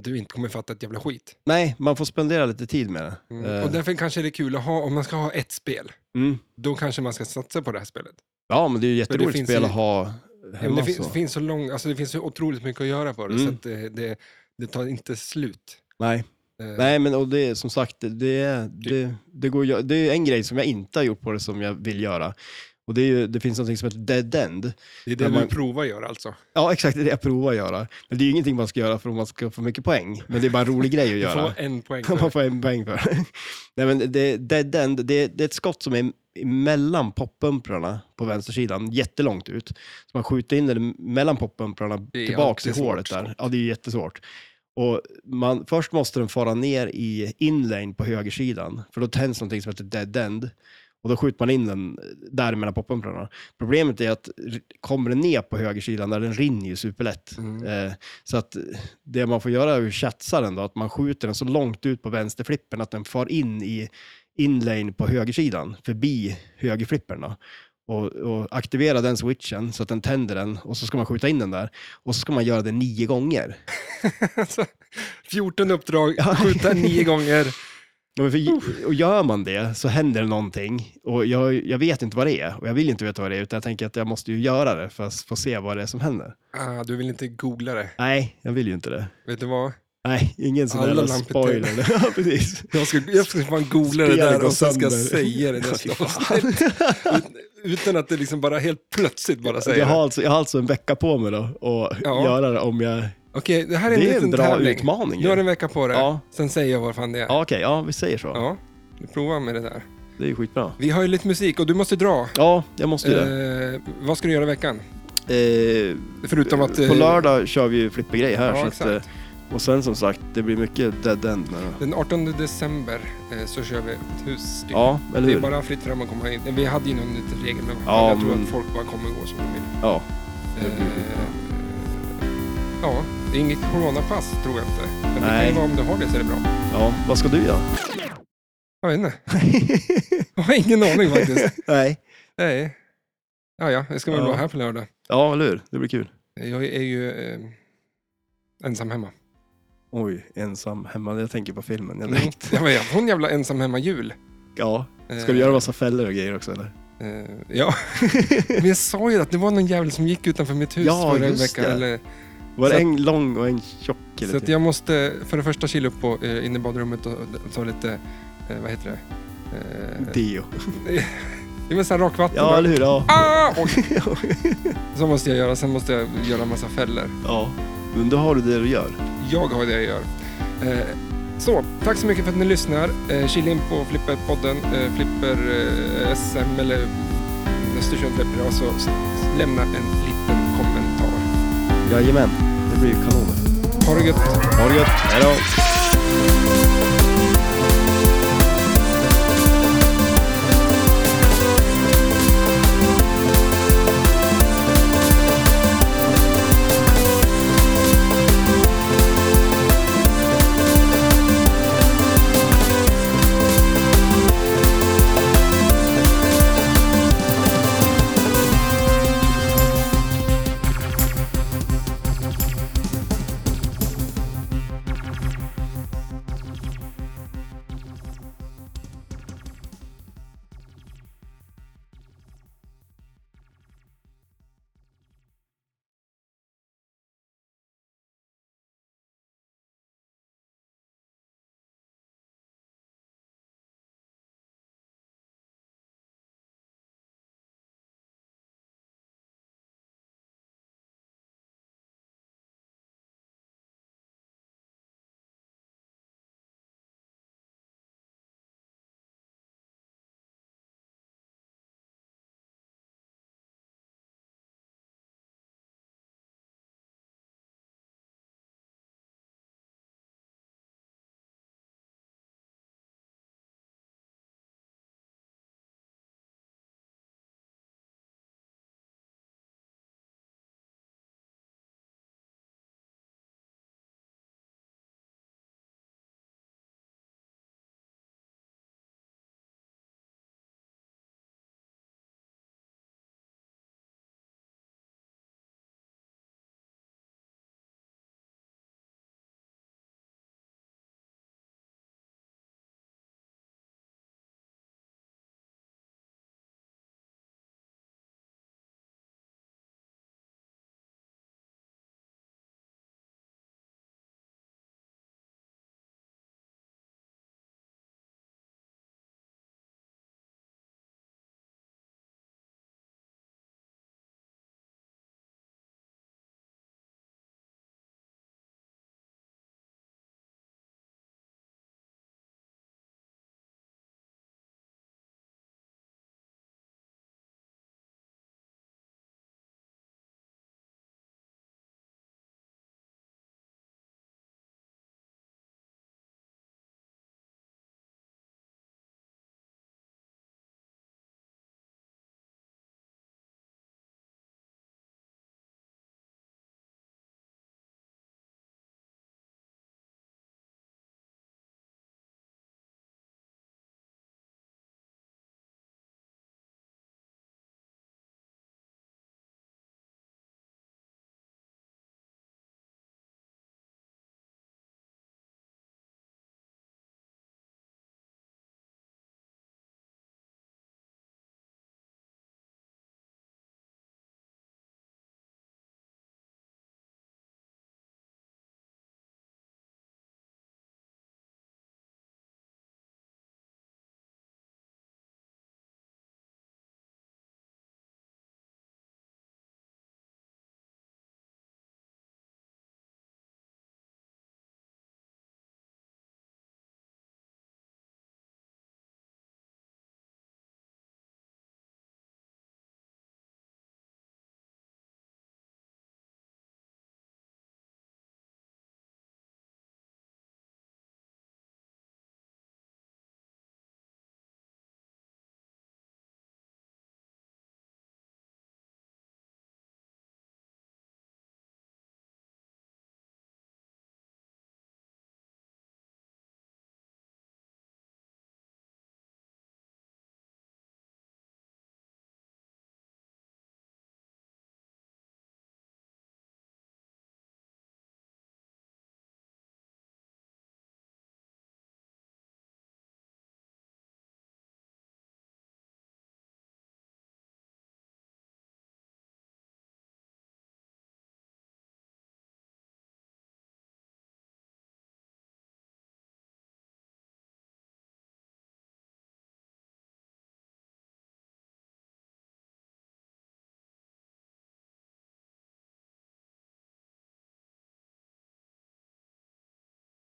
A: du inte kommer fatta ett jävla skit.
B: Nej, man får spendera lite tid med det.
A: Mm.
B: Eh,
A: Och därför kanske det är kul att ha, om man ska ha ett spel,
B: mm.
A: då kanske man ska satsa på det här spelet.
B: Ja, men det är ju
A: det
B: jätteroligt
A: finns
B: spel
A: ju-
B: att ha
A: Ja, men
B: hemma.
A: det, finns,
B: så.
A: finns så lång, alltså det finns så otroligt mycket att göra på det,
B: Mm.
A: så att eh, det, det tar inte slut.
B: Nej.
A: Eh,
B: Nej, men och det är som sagt, det, det,
A: Typ.
B: det, det, går, att göra- det är en grej som jag inte har gjort på det som jag vill göra. Och det, är ju, det finns något som heter dead end.
A: Det är det
B: när man-
A: du provar att göra alltså.
B: Ja, exakt, det är det jag provar att göra. Men det är ju ingenting man ska göra för att man ska få mycket poäng. Men det är bara en rolig grej att
A: Du
B: göra.
A: får en poäng.
B: kan
A: för
B: man
A: det.
B: få en poäng för. Nej, men det, dead end, det, det är ett skott som är mellan poppumprarna på vänstersidan, jättelångt ut. Så man skjuter in den mellan poppumprarna
A: Det är
B: tillbaks i
A: alltid
B: hålet
A: svårt,
B: där. Ja, det är jättesvårt. Och man, först måste den fara ner i inlane på högersidan, för då tänds någonting som heter dead end. Och då skjuter man in den där mellan poppumprarna. Problemet är att r- kommer den ner på högersidan, där den rinner ju superlätt. Eh, så att det man får göra är att chatsa den då, att man skjuter den så långt ut på vänsterflippen att den far in i inlane på högersidan, förbi högerflippen då. Och, och aktivera den switchen så att den tänder den och så ska man skjuta in den där. Och så ska man göra det nio gånger.
A: Alltså, 14 uppdrag, skjuta nio gånger.
B: Ja, men för, och gör man det så händer det någonting och jag, jag vet inte vad det är och jag vill inte veta vad det är utan jag tänker att jag måste ju göra det för att få se vad det är som händer.
A: Ah, du vill inte googla det.
B: Nej, jag vill ju inte det.
A: Vet du vad?
B: Nej, ingen sån
A: Alla
B: jävla
A: lampor
B: spoiler. ja, precis.
A: Jag ska, jag ska fan googla det
B: Spelet
A: där
B: går
A: och sen ska jag
B: sönder.
A: säga det nästa avsnitt. Ut- Utan att det liksom bara helt plötsligt bara säger
B: Jag har,
A: det.
B: alltså, jag har alltså en vecka på mig då och
A: Ja.
B: göra det om jag...
A: Okej, det här är en
B: Det är en
A: liten
B: bra
A: tävling.
B: utmaning ju.
A: Du har en vecka på dig.
B: Ja.
A: Sen säger jag vad fan det är.
B: Ja, Okej, ja vi säger så.
A: Ja, vi provar med det där.
B: Det är ju skitbra.
A: Vi har ju lite musik och du måste dra.
B: Ja, jag måste ju det.
A: Eh, vad ska du göra i veckan?
B: Eh,
A: Förutom att... eh,
B: På lördag kör vi ju flippergrej här.
A: Ja,
B: så att,
A: exakt.
B: eh, och sen som sagt, det blir mycket dead end. Med det.
A: Den 18 december eh, så kör vi ett hus.
B: Ja, eller
A: det är
B: hur?
A: bara fritt fram att komma in. Vi hade ju någon liten regel, men
B: Ja,
A: jag tror
B: men-
A: att folk bara kommer och går som de vill.
B: Ja.
A: Eh, ja, det är inget coronapass tror jag inte. Men det kan ju
B: Nej.
A: vara om du har det så är det bra.
B: ja, vad ska du göra?
A: Jag vet inte. Jag har ingen aning faktiskt.
B: Nej.
A: Nej. Ja, ja, jag ska väl
B: Ja.
A: vara här på lördag.
B: Ja, eller hur? Det blir kul.
A: Jag är ju eh, ensam hemma.
B: Oj, ensam hemma. Jag tänker på filmen. Jag
A: Mm. Jag har haft en jävla ensam hemma-jul.
B: Ja.
A: Eh,
B: Ska du göra massa fällor och grejer också eller?
A: Eh, ja, men jag sa ju att det var någon jävel som gick utanför mitt hus
B: Ja,
A: förra
B: just
A: veckan.
B: det.
A: Eller,
B: Var
A: Så
B: det
A: att-
B: en lång och en tjock? eller
A: så att
B: typ?
A: jag måste för det första kila upp på, eh, in i badrummet och och ta lite, eh, vad heter det? Eh,
B: Dio.
A: det är väl så här rakvatten.
B: Ja,
A: bara.
B: eller hur? Ja.
A: Ah! Oj. Så måste jag göra, sen måste jag göra en massa fällor.
B: ja. Men då har du det du gör.
A: Jag har det jag gör. Eh, Så, tack så mycket för att ni lyssnar. Eh, Kila in på Flipper-podden, eh, Flipper eh, SM eller Östersund Flipper och så alltså, s- lämna en liten kommentar.
B: Jajamän. Det blir ju kanon.
A: Ha det gött!
B: Ha det gött. Hej då.